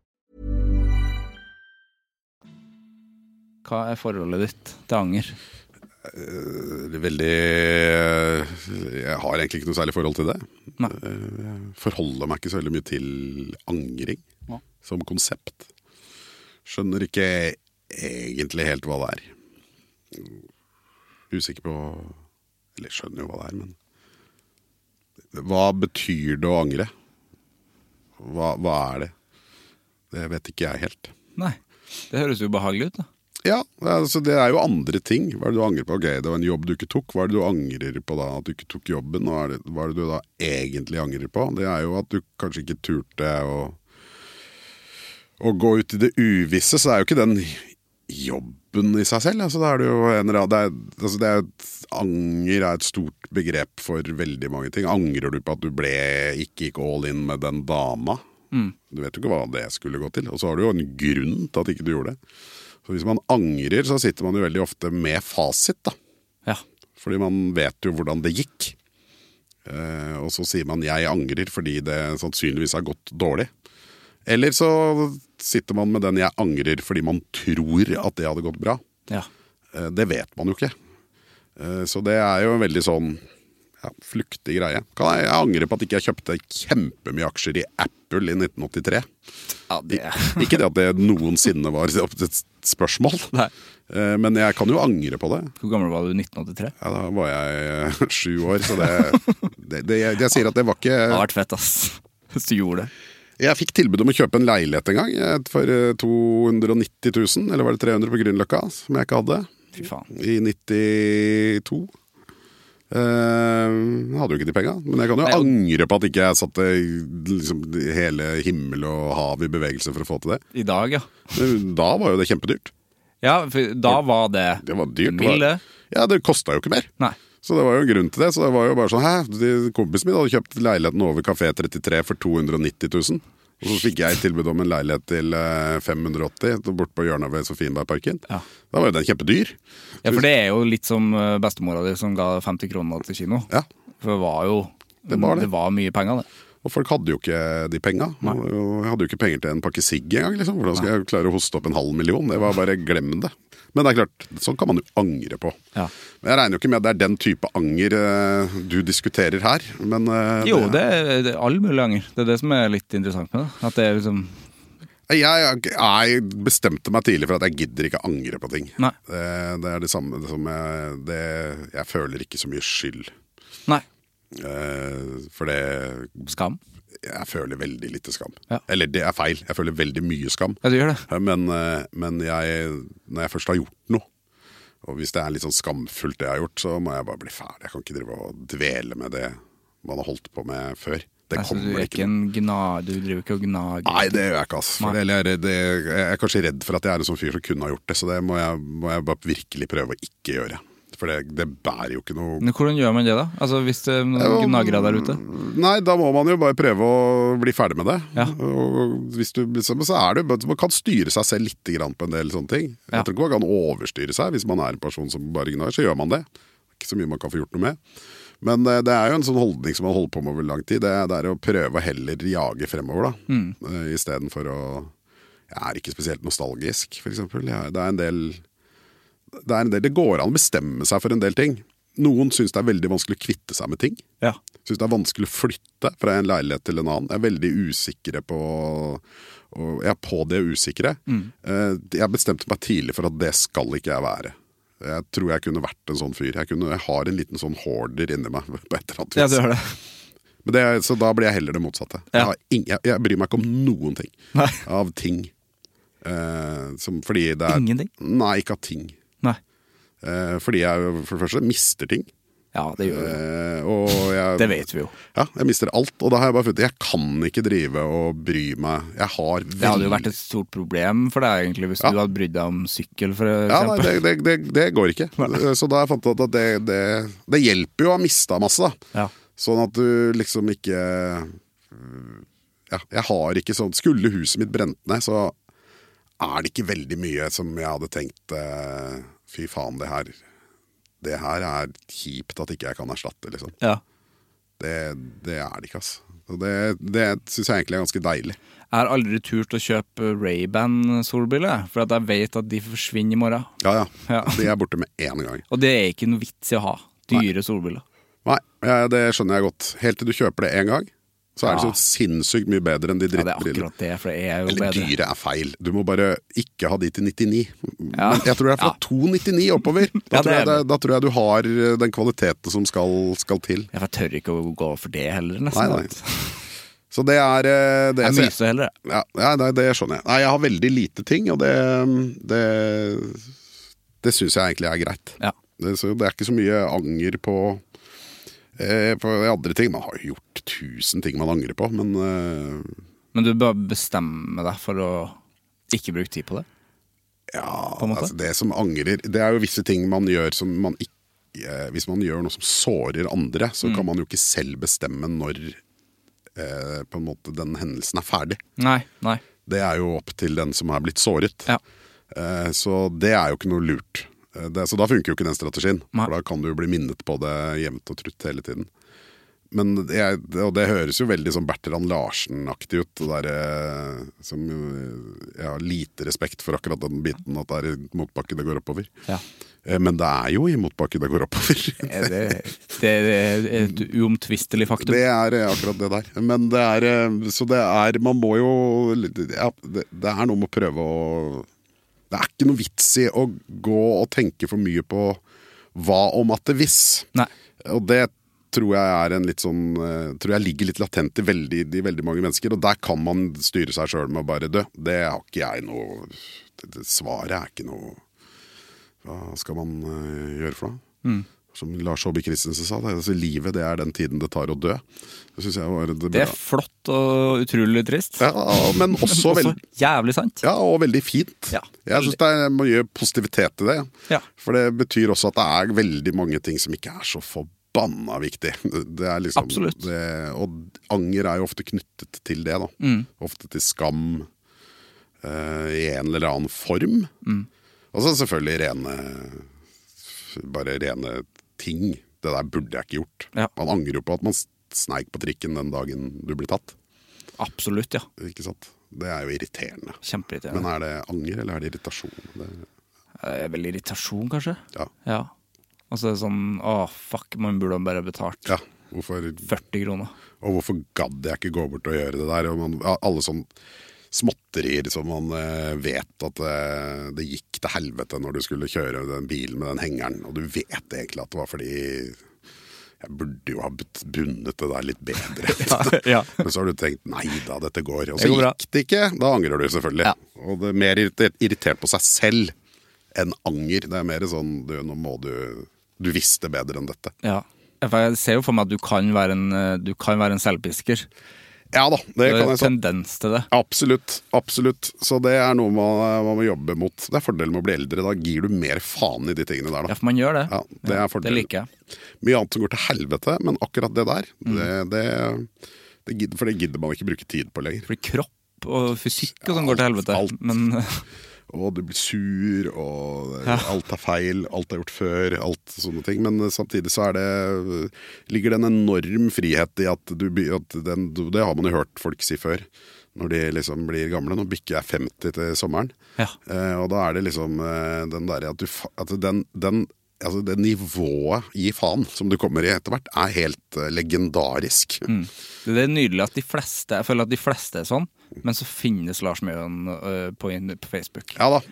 Hva er forholdet ditt til anger?
Eh, Veldig eh, Jeg har egentlig ikke noe særlig forhold til det.
Nei.
Jeg forholder meg ikke så veldig mye til angring
Ja.
som konsept. Skjønner ikke egentlig helt hva det er. Usikker på Eller skjønner jo hva det er, men Hva betyr det å angre? Hva, hva er det? Det vet ikke jeg helt.
Nei, det høres jo ubehagelig ut, da.
Ja, altså det er jo andre ting. Hva er det du angrer på? Ok, det var en jobb du ikke tok. Hva er det du angrer på da? At du ikke tok jobben? Hva er det, hva er det du da egentlig angrer på? Det er jo at du kanskje ikke turte å, å gå ut i det uvisse. Så det er jo ikke den jobben i seg selv. Altså, da er det jo en eller annen, det er, altså, det er et, anger er et stort begrep for veldig mange ting. Angrer du på at du ble, ikke gikk all in med den dama? Du vet jo ikke hva det skulle gå til. Og så har du jo en grunn til at ikke du gjorde det. Så hvis man angrer, så sitter man jo veldig ofte med fasit, da.
Ja.
Fordi man vet jo hvordan det gikk. Eh, og så sier man 'jeg angrer' fordi det sannsynligvis har gått dårlig. Eller så sitter man med den 'jeg angrer' fordi man tror at det hadde gått bra.
ja.
Eh, det vet man jo ikke. Eh, så det er jo en veldig sånn ja, flyktig greie. Kan jeg, jeg angrer på at ikke jeg kjøpte kjempemye aksjer i Apple i 1983.
Ja, det
Ikke det at det noensinne var et spørsmål,
Nei.
Eh, men jeg kan jo angre på det.
Hvor gammel var du? 1983?
Ja, da var jeg eh, sju år, så det, det, det jeg, jeg sier at det var
Det hadde
ikke
vært fett, ass. Hvis du gjorde det.
Jeg fikk tilbud om å kjøpe en leilighet en gang eh, for eh, 290 000, eller var det 300 på Grünerløkka, som jeg ikke hadde,
Fy faen.
i 92. Eh, Jeg Eh, hadde jo ikke de penga, men jeg kan jo
Nei, og-
angre på at ikke jeg satte liksom, hele himmel og hav i bevegelse for å få til det.
I dag, ja.
Men Da var jo det kjempedyrt.
Ja, for da var det
Det var dyrt.
Mild, det.
Ja, det kosta jo ikke mer.
Nei.
Så det var jo en grunn til det. Så det var jo bare sånn Hæ, de- kompisen min hadde kjøpt leiligheten over Kafé 33 for 290 000. Og så fikk jeg tilbud om en leilighet til eh, 580 borte på hjørnet ved Sofienbergparken.
Ja.
Da var jo den kjempedyr.
Ja, for det er jo litt som eh, bestemora di som ga 50 kroner til kino.
Ja.
For det var jo
Det var det.
mye penger, det.
Og folk hadde jo ikke de penga. Og Jeg hadde jo ikke penger til en pakke sigg engang. Liksom. Hvordan skal jeg klare å hoste opp en halv million? Det var bare glem det. Men det er klart, sånn kan man jo angre på.
Ja.
Men Jeg regner jo ikke med at det er den type anger eh, du diskuterer her, men eh,
Jo, det er, det er all mulig anger. Det er det som er litt interessant med det. At det er liksom
Jeg, jeg bestemte meg tidlig for at jeg gidder ikke angre på ting.
Nei.
Det, det er det samme som jeg det, Jeg føler ikke så mye skyld.
Nei.
Eh, for det
Skam.
Jeg føler veldig lite skam.
Ja.
Eller det er feil. Jeg føler veldig mye skam.
Ja, du gjør det.
Eh, Men, eh, men jeg, når jeg først har gjort noe, og hvis det er litt sånn skamfullt det jeg har gjort, så må jeg bare bli ferdig. Jeg kan ikke drive og dvele med det man har holdt på med før. Det
Altså, du,
kommer
er
ikke
ikke en gna, du driver ikke og gnager.
Nei, det gjør jeg ikke. ass. For
Nei.
eller, det, jeg er kanskje redd for at jeg er en sånn fyr som kunne ha gjort det, så det må jeg, må jeg bare virkelig prøve å ikke gjøre. For det, det bærer jo ikke noe
Men hvordan gjør man det, da? Altså Hvis det er noen gnagere der ute?
Nei, da må man jo bare prøve å bli ferdig med det.
Ja.
Og hvis du, liksom, så er det, jo- man kan styre seg selv litt grann på en del sånne ting.
Ja.
Jeg tror ikke man kan overstyre seg. Hvis man er en person som bare gnager, så gjør man det. Ikke så mye man kan få gjort noe med. Men eh, det er jo en sånn holdning som man holder på med over lang tid. Det, er- det er å prøve å heller jage fremover, da.
Mm.
Eh, Istedenfor å Jeg er ikke spesielt nostalgisk, f.eks. Det er en del det, er en del, det går an å bestemme seg for en del ting. Noen syns det er veldig vanskelig å kvitte seg med ting.
Ja.
Syns det er vanskelig å flytte fra en leilighet til en annen. Jeg er veldig usikre på og Jeg er på det usikre.
Mm.
Eh, Jeg bestemte meg tidlig for at det skal ikke jeg være. Jeg tror jeg kunne vært en sånn fyr. Jeg, kunne, jeg har en liten sånn hoarder inni meg. på et eller annet
ja,
vis.
du gjør det.
Men det, så da blir jeg heller det motsatte.
Ja.
Jeg, har ing- jeg, jeg bryr meg ikke om noen ting
Nei.
av ting. Eh, som, fordi det er
Ingenting?
Nei, ikke av ting.
Nei.
Eh, fordi jeg jo for det første mister ting.
Ja, det gjør du.
Eh, og jeg,
Det vet vi jo.
Ja, jeg mister alt. Og da har jeg bare funnet ut Jeg kan ikke drive og bry meg. Jeg har
Det hadde jo
veldig-
vært et stort problem for deg egentlig hvis
Ja.
du hadde brydd deg om sykkel, for
ja, nei,
eksempel.
det, det, det, det går ikke. Så da har jeg fant ut at det, det, det hjelper jo å ha mista masse, da.
Ja.
Sånn at du liksom ikke Ja, jeg har ikke sånn Skulle huset mitt brent ned, så er det ikke veldig mye som jeg hadde tenkt eh, Fy faen, det her Det her er kjipt at ikke jeg kan erstatte, liksom.
Ja.
Det, det er det ikke, altså. Og det, det syns jeg egentlig er ganske deilig.
Jeg har aldri turt å kjøpe Ray-Ban solbriller, for at jeg vet at de forsvinner i morgen.
Ja, ja.
Ja.
De er borte med en gang.
Og det er ikke noe vits i å ha. Dyre solbriller.
Nei, ja, det skjønner jeg godt. Helt til du kjøper det én gang, så er det
Ja.
så sinnssykt mye bedre enn de
Ja, det er
drittbrillene.
akkurat det, for det er jo
Eller
bedre.
dyre er feil. Du må bare ikke ha de til 99.
Ja.
Men jeg tror det er fra
Ja.
299 oppover. Da,
Ja, det
tror jeg
er
det,
det.
da tror jeg du har eh, den kvaliteten som skal, skal til.
Ja, for Jeg tør ikke å gå for det heller,
Nei,
nesten.
nei. Så det er eh, det,
Jeg
så jeg-
myser heller. jeg.
Ja, ja nei, det skjønner jeg. Nei, jeg har veldig lite ting, og det mm, Det, det syns jeg egentlig er greit.
Ja.
Det, så det er ikke så mye anger på, eh, på andre ting. Man har jo gjort tusen ting man angrer på, men eh,
Men du bør bestemme deg for å ikke bruke tid på det.
Ja,
på en måte?
altså det som angrer Det er jo visse ting man gjør som man ikke eh, Hvis man gjør noe som sårer andre, så
Mm.
kan man jo ikke selv bestemme når eh, på en måte den hendelsen er ferdig.
Nei, nei.
Det er jo opp til den som er blitt såret.
Ja.
Eh, så det er jo ikke noe lurt. Eh, det, så da funker jo ikke den strategien.
Nei.
For da kan du jo bli minnet på det jevnt og trutt hele tiden. Men det, er- det- og det høres jo veldig sånn Bertrand Larsen-aktig ut. Det der, eh, som eh, Jeg har lite respekt for akkurat den biten at det er i motbakke det går oppover.
Ja. Eh,
Eh, Men det er jo i motbakke det går oppover.
Det, det er et uomtvistelig faktum.
Det er eh, akkurat det der. Men det er eh, Så det er Man må jo ja, Det det er noe med å prøve å Det er ikke noe vits i å gå og tenke for mye på hva om at det hvis.
Nei.
Og det tror jeg er en litt sånn eh, Tror jeg ligger litt latent i veldig, i veldig mange mennesker. Og der kan man styre seg sjøl med å bare dø. Det har ikke jeg noe det, det, Svaret er ikke noe Hva skal man eh, gjøre for noe? Som Lars Håby Christensen sa, det, er altså, livet det er den tiden det tar å dø. Det syns jeg var det
Det
bra.
er flott og utrolig trist.
Ja, men også,
Også
veld,
jævlig sant.
ja, og veldig fint.
Ja.
Jeg syns det er mye positivitet i det.
Ja.
For det betyr også at det er veldig mange ting som ikke er så forbanna viktig. Det er liksom,
Absolutt.
Det, og anger er jo ofte knyttet til det, da.
Mm.
Ofte til skam eh, i en eller annen form.
Mm.
Og så selvfølgelig rene Bare rene ting. Det der burde jeg ikke gjort.
Ja.
Man angrer jo på at man sneik på trikken den dagen du ble tatt.
Absolutt, ja.
Ikke sant? Det er jo irriterende. Men
Kjempeirriterende.
er det anger, eller er det irritasjon? Det,
Det er vel irritasjon, kanskje?
ja.
Ja. Altså det er sånn Å, fuck, man burde ha bare betalt
ja. Hvorfor,
40 kroner.
og hvorfor gadd jeg ikke gå bort og gjøre det der? Og man, ja, alle sånne småtterier som man eh, vet at eh, det gikk til helvete når du skulle kjøre den bilen med den hengeren, og du vet egentlig at det var fordi jeg burde jo ha bet- bundet det der litt bedre.
ja.
Men så har du tenkt nei da, dette går. Og
Det
så
går bra.
gikk det ikke. Da angrer du selvfølgelig.
Ja.
Og det er mer irrit- irritert på seg selv enn anger. Det er mer sånn du, nå må du Du visste bedre enn dette.
ja. For jeg ser jo for meg at du kan være en, eh, du kan være en selvpisker.
Ja da, det
Det er
kan
en
jeg sånn. så.
tendens til det.
Absolutt. absolutt Så det er noe man, eh, man må jobbe mot. Det er fordelen med å bli eldre. Da gir du mer faen i de tingene der,
Ja,
da.
for man gjør det.
Ja, det er fordelen.
Det liker jeg.
Mye annet som går til helvete, men akkurat det der,
Mm.
det, det, det gidder, For det gidder man ikke bruke tid på lenger.
Fordi kropp og fysikk og sånn går
Ja,
til helvete.
alt.
Men
Og du blir sur, og alt er feil, alt er gjort før, alt sånne ting. Men eh, samtidig så er det ligger det en enorm frihet i at du by- at den, Det har man jo hørt folk si før, når de liksom blir gamle. Nå bikker jeg 50 til sommeren.
Ja.
Eh, og da er det liksom eh, den derre at du fa- at den, den Altså Det nivået i faen som du kommer i etter hvert, er helt eh, legendarisk.
Mm. det er nydelig at de fleste Jeg føler at de fleste er sånn, men så finnes Lars Mjøen øh, på, in- på Facebook.
Ja da.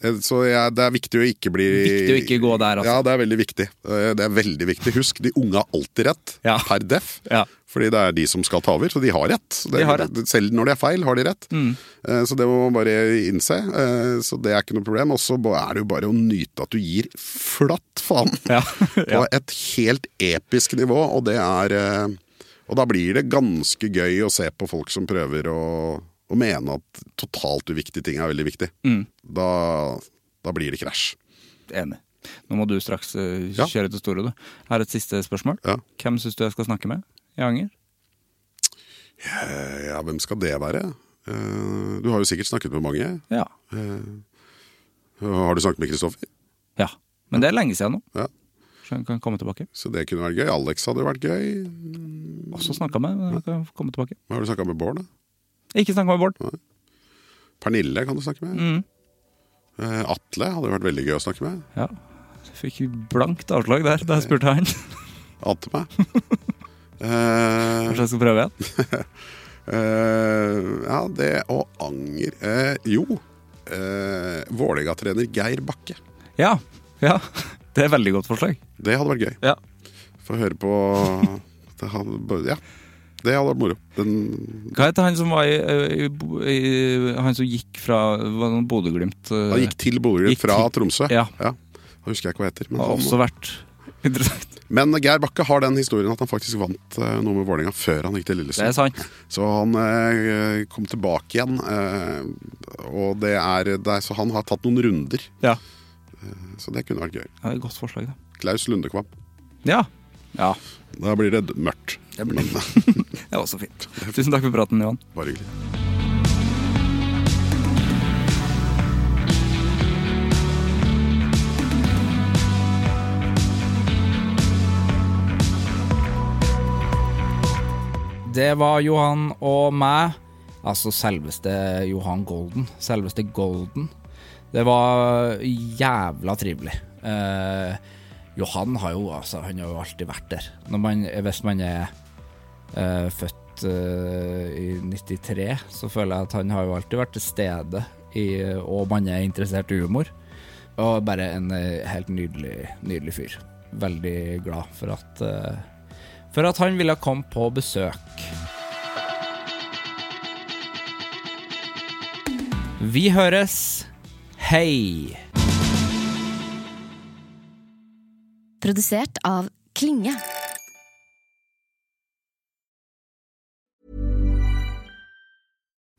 Eh, Så jeg, det er viktig å ikke bli
Viktig å ikke gå der, altså.
Ja, det er veldig viktig. Eh, Det er veldig viktig. Husk, de unge har alltid rett,
Ja.
per def.
Ja.
Fordi det er de som skal ta over, så de har rett. Så Det,
De har rett. Mm.
Selv når de er feil, har de rett. Eh, Så det må man bare innse. Eh, Så det er ikke noe problem. Og så ba- er det jo bare å nyte at du gir flatt faen
Ja.
på et helt episk nivå, og det er eh, Og da blir det ganske gøy å se på folk som prøver å, å mene at totalt uviktige ting er veldig viktig. Da, da blir det krasj.
Enig. Nå må du straks øh,
Ja.
kjøre til Store, du. Jeg har et siste spørsmål.
Ja.
Hvem syns du jeg skal snakke med i Anger?
Eh, Ja, hvem skal det være? Eh, Du har jo sikkert snakket med mange.
Ja.
Har du snakket med Kristoffer?
ja. Men det er lenge siden nå,
Ja.
så jeg kan komme tilbake.
Så det kunne vært gøy. Alex hadde vært gøy.
Også snakka med, men jeg kan komme tilbake.
Har du snakka med Bård, da?
Ikke snakka med Bård.
Pernille kan du snakke med. Eh, Atle hadde vært veldig gøy å snakke med.
Ja. Jeg fikk blankt avslag der da jeg spurte han.
Ante meg.
Kanskje
Eh,
jeg skal prøve igjen?
Eh, ja, det og anger eh, Jo, eh, Vålerenga-trener Geir Bakke.
Ja. ja. Det er et veldig godt forslag.
Det hadde vært gøy.
Ja.
Få høre på det hadde, bare- Ja, det hadde vært moro. Den,
Hva heter han som var i, eh, i, Bo- i Han som gikk fra var det Bodø-Glimt? eh,
han gikk til Bodø
Gikk
fra
til-
Tromsø.
Ja.
Da husker jeg ikke hva han heter. Men
Har
han,
også vært interessant.
Men Geir Bakke har den historien at han faktisk vant eh, noe med Vålerenga før han gikk til
Det er
Lillesund.
sant.
Så han eh, kom tilbake igjen, eh, og det er, det er Så han har tatt noen runder.
Ja.
Så det kunne vært gøy.
ja det er et godt forslag, da.
Klaus Lundekvam.
Ja. ja.
Da blir det d- mørkt. Men, eh,
Det var også fint. Tusen takk for praten, Johan.
bare hyggelig.
Det var Johan og meg. Altså selveste Johan Golden. Selveste Golden. Det var jævla trivelig. Eh, Johan har jo altså Han har jo alltid vært der. Når man, hvis man er eh, født eh, i 93, så føler jeg at han har jo alltid vært til stede, i, og man er interessert i humor. Og bare en eh, helt nydelig, nydelig fyr. Veldig glad for at eh, for at han ville komme på besøk. Vi høres. Hei!
Produsert av Klinge.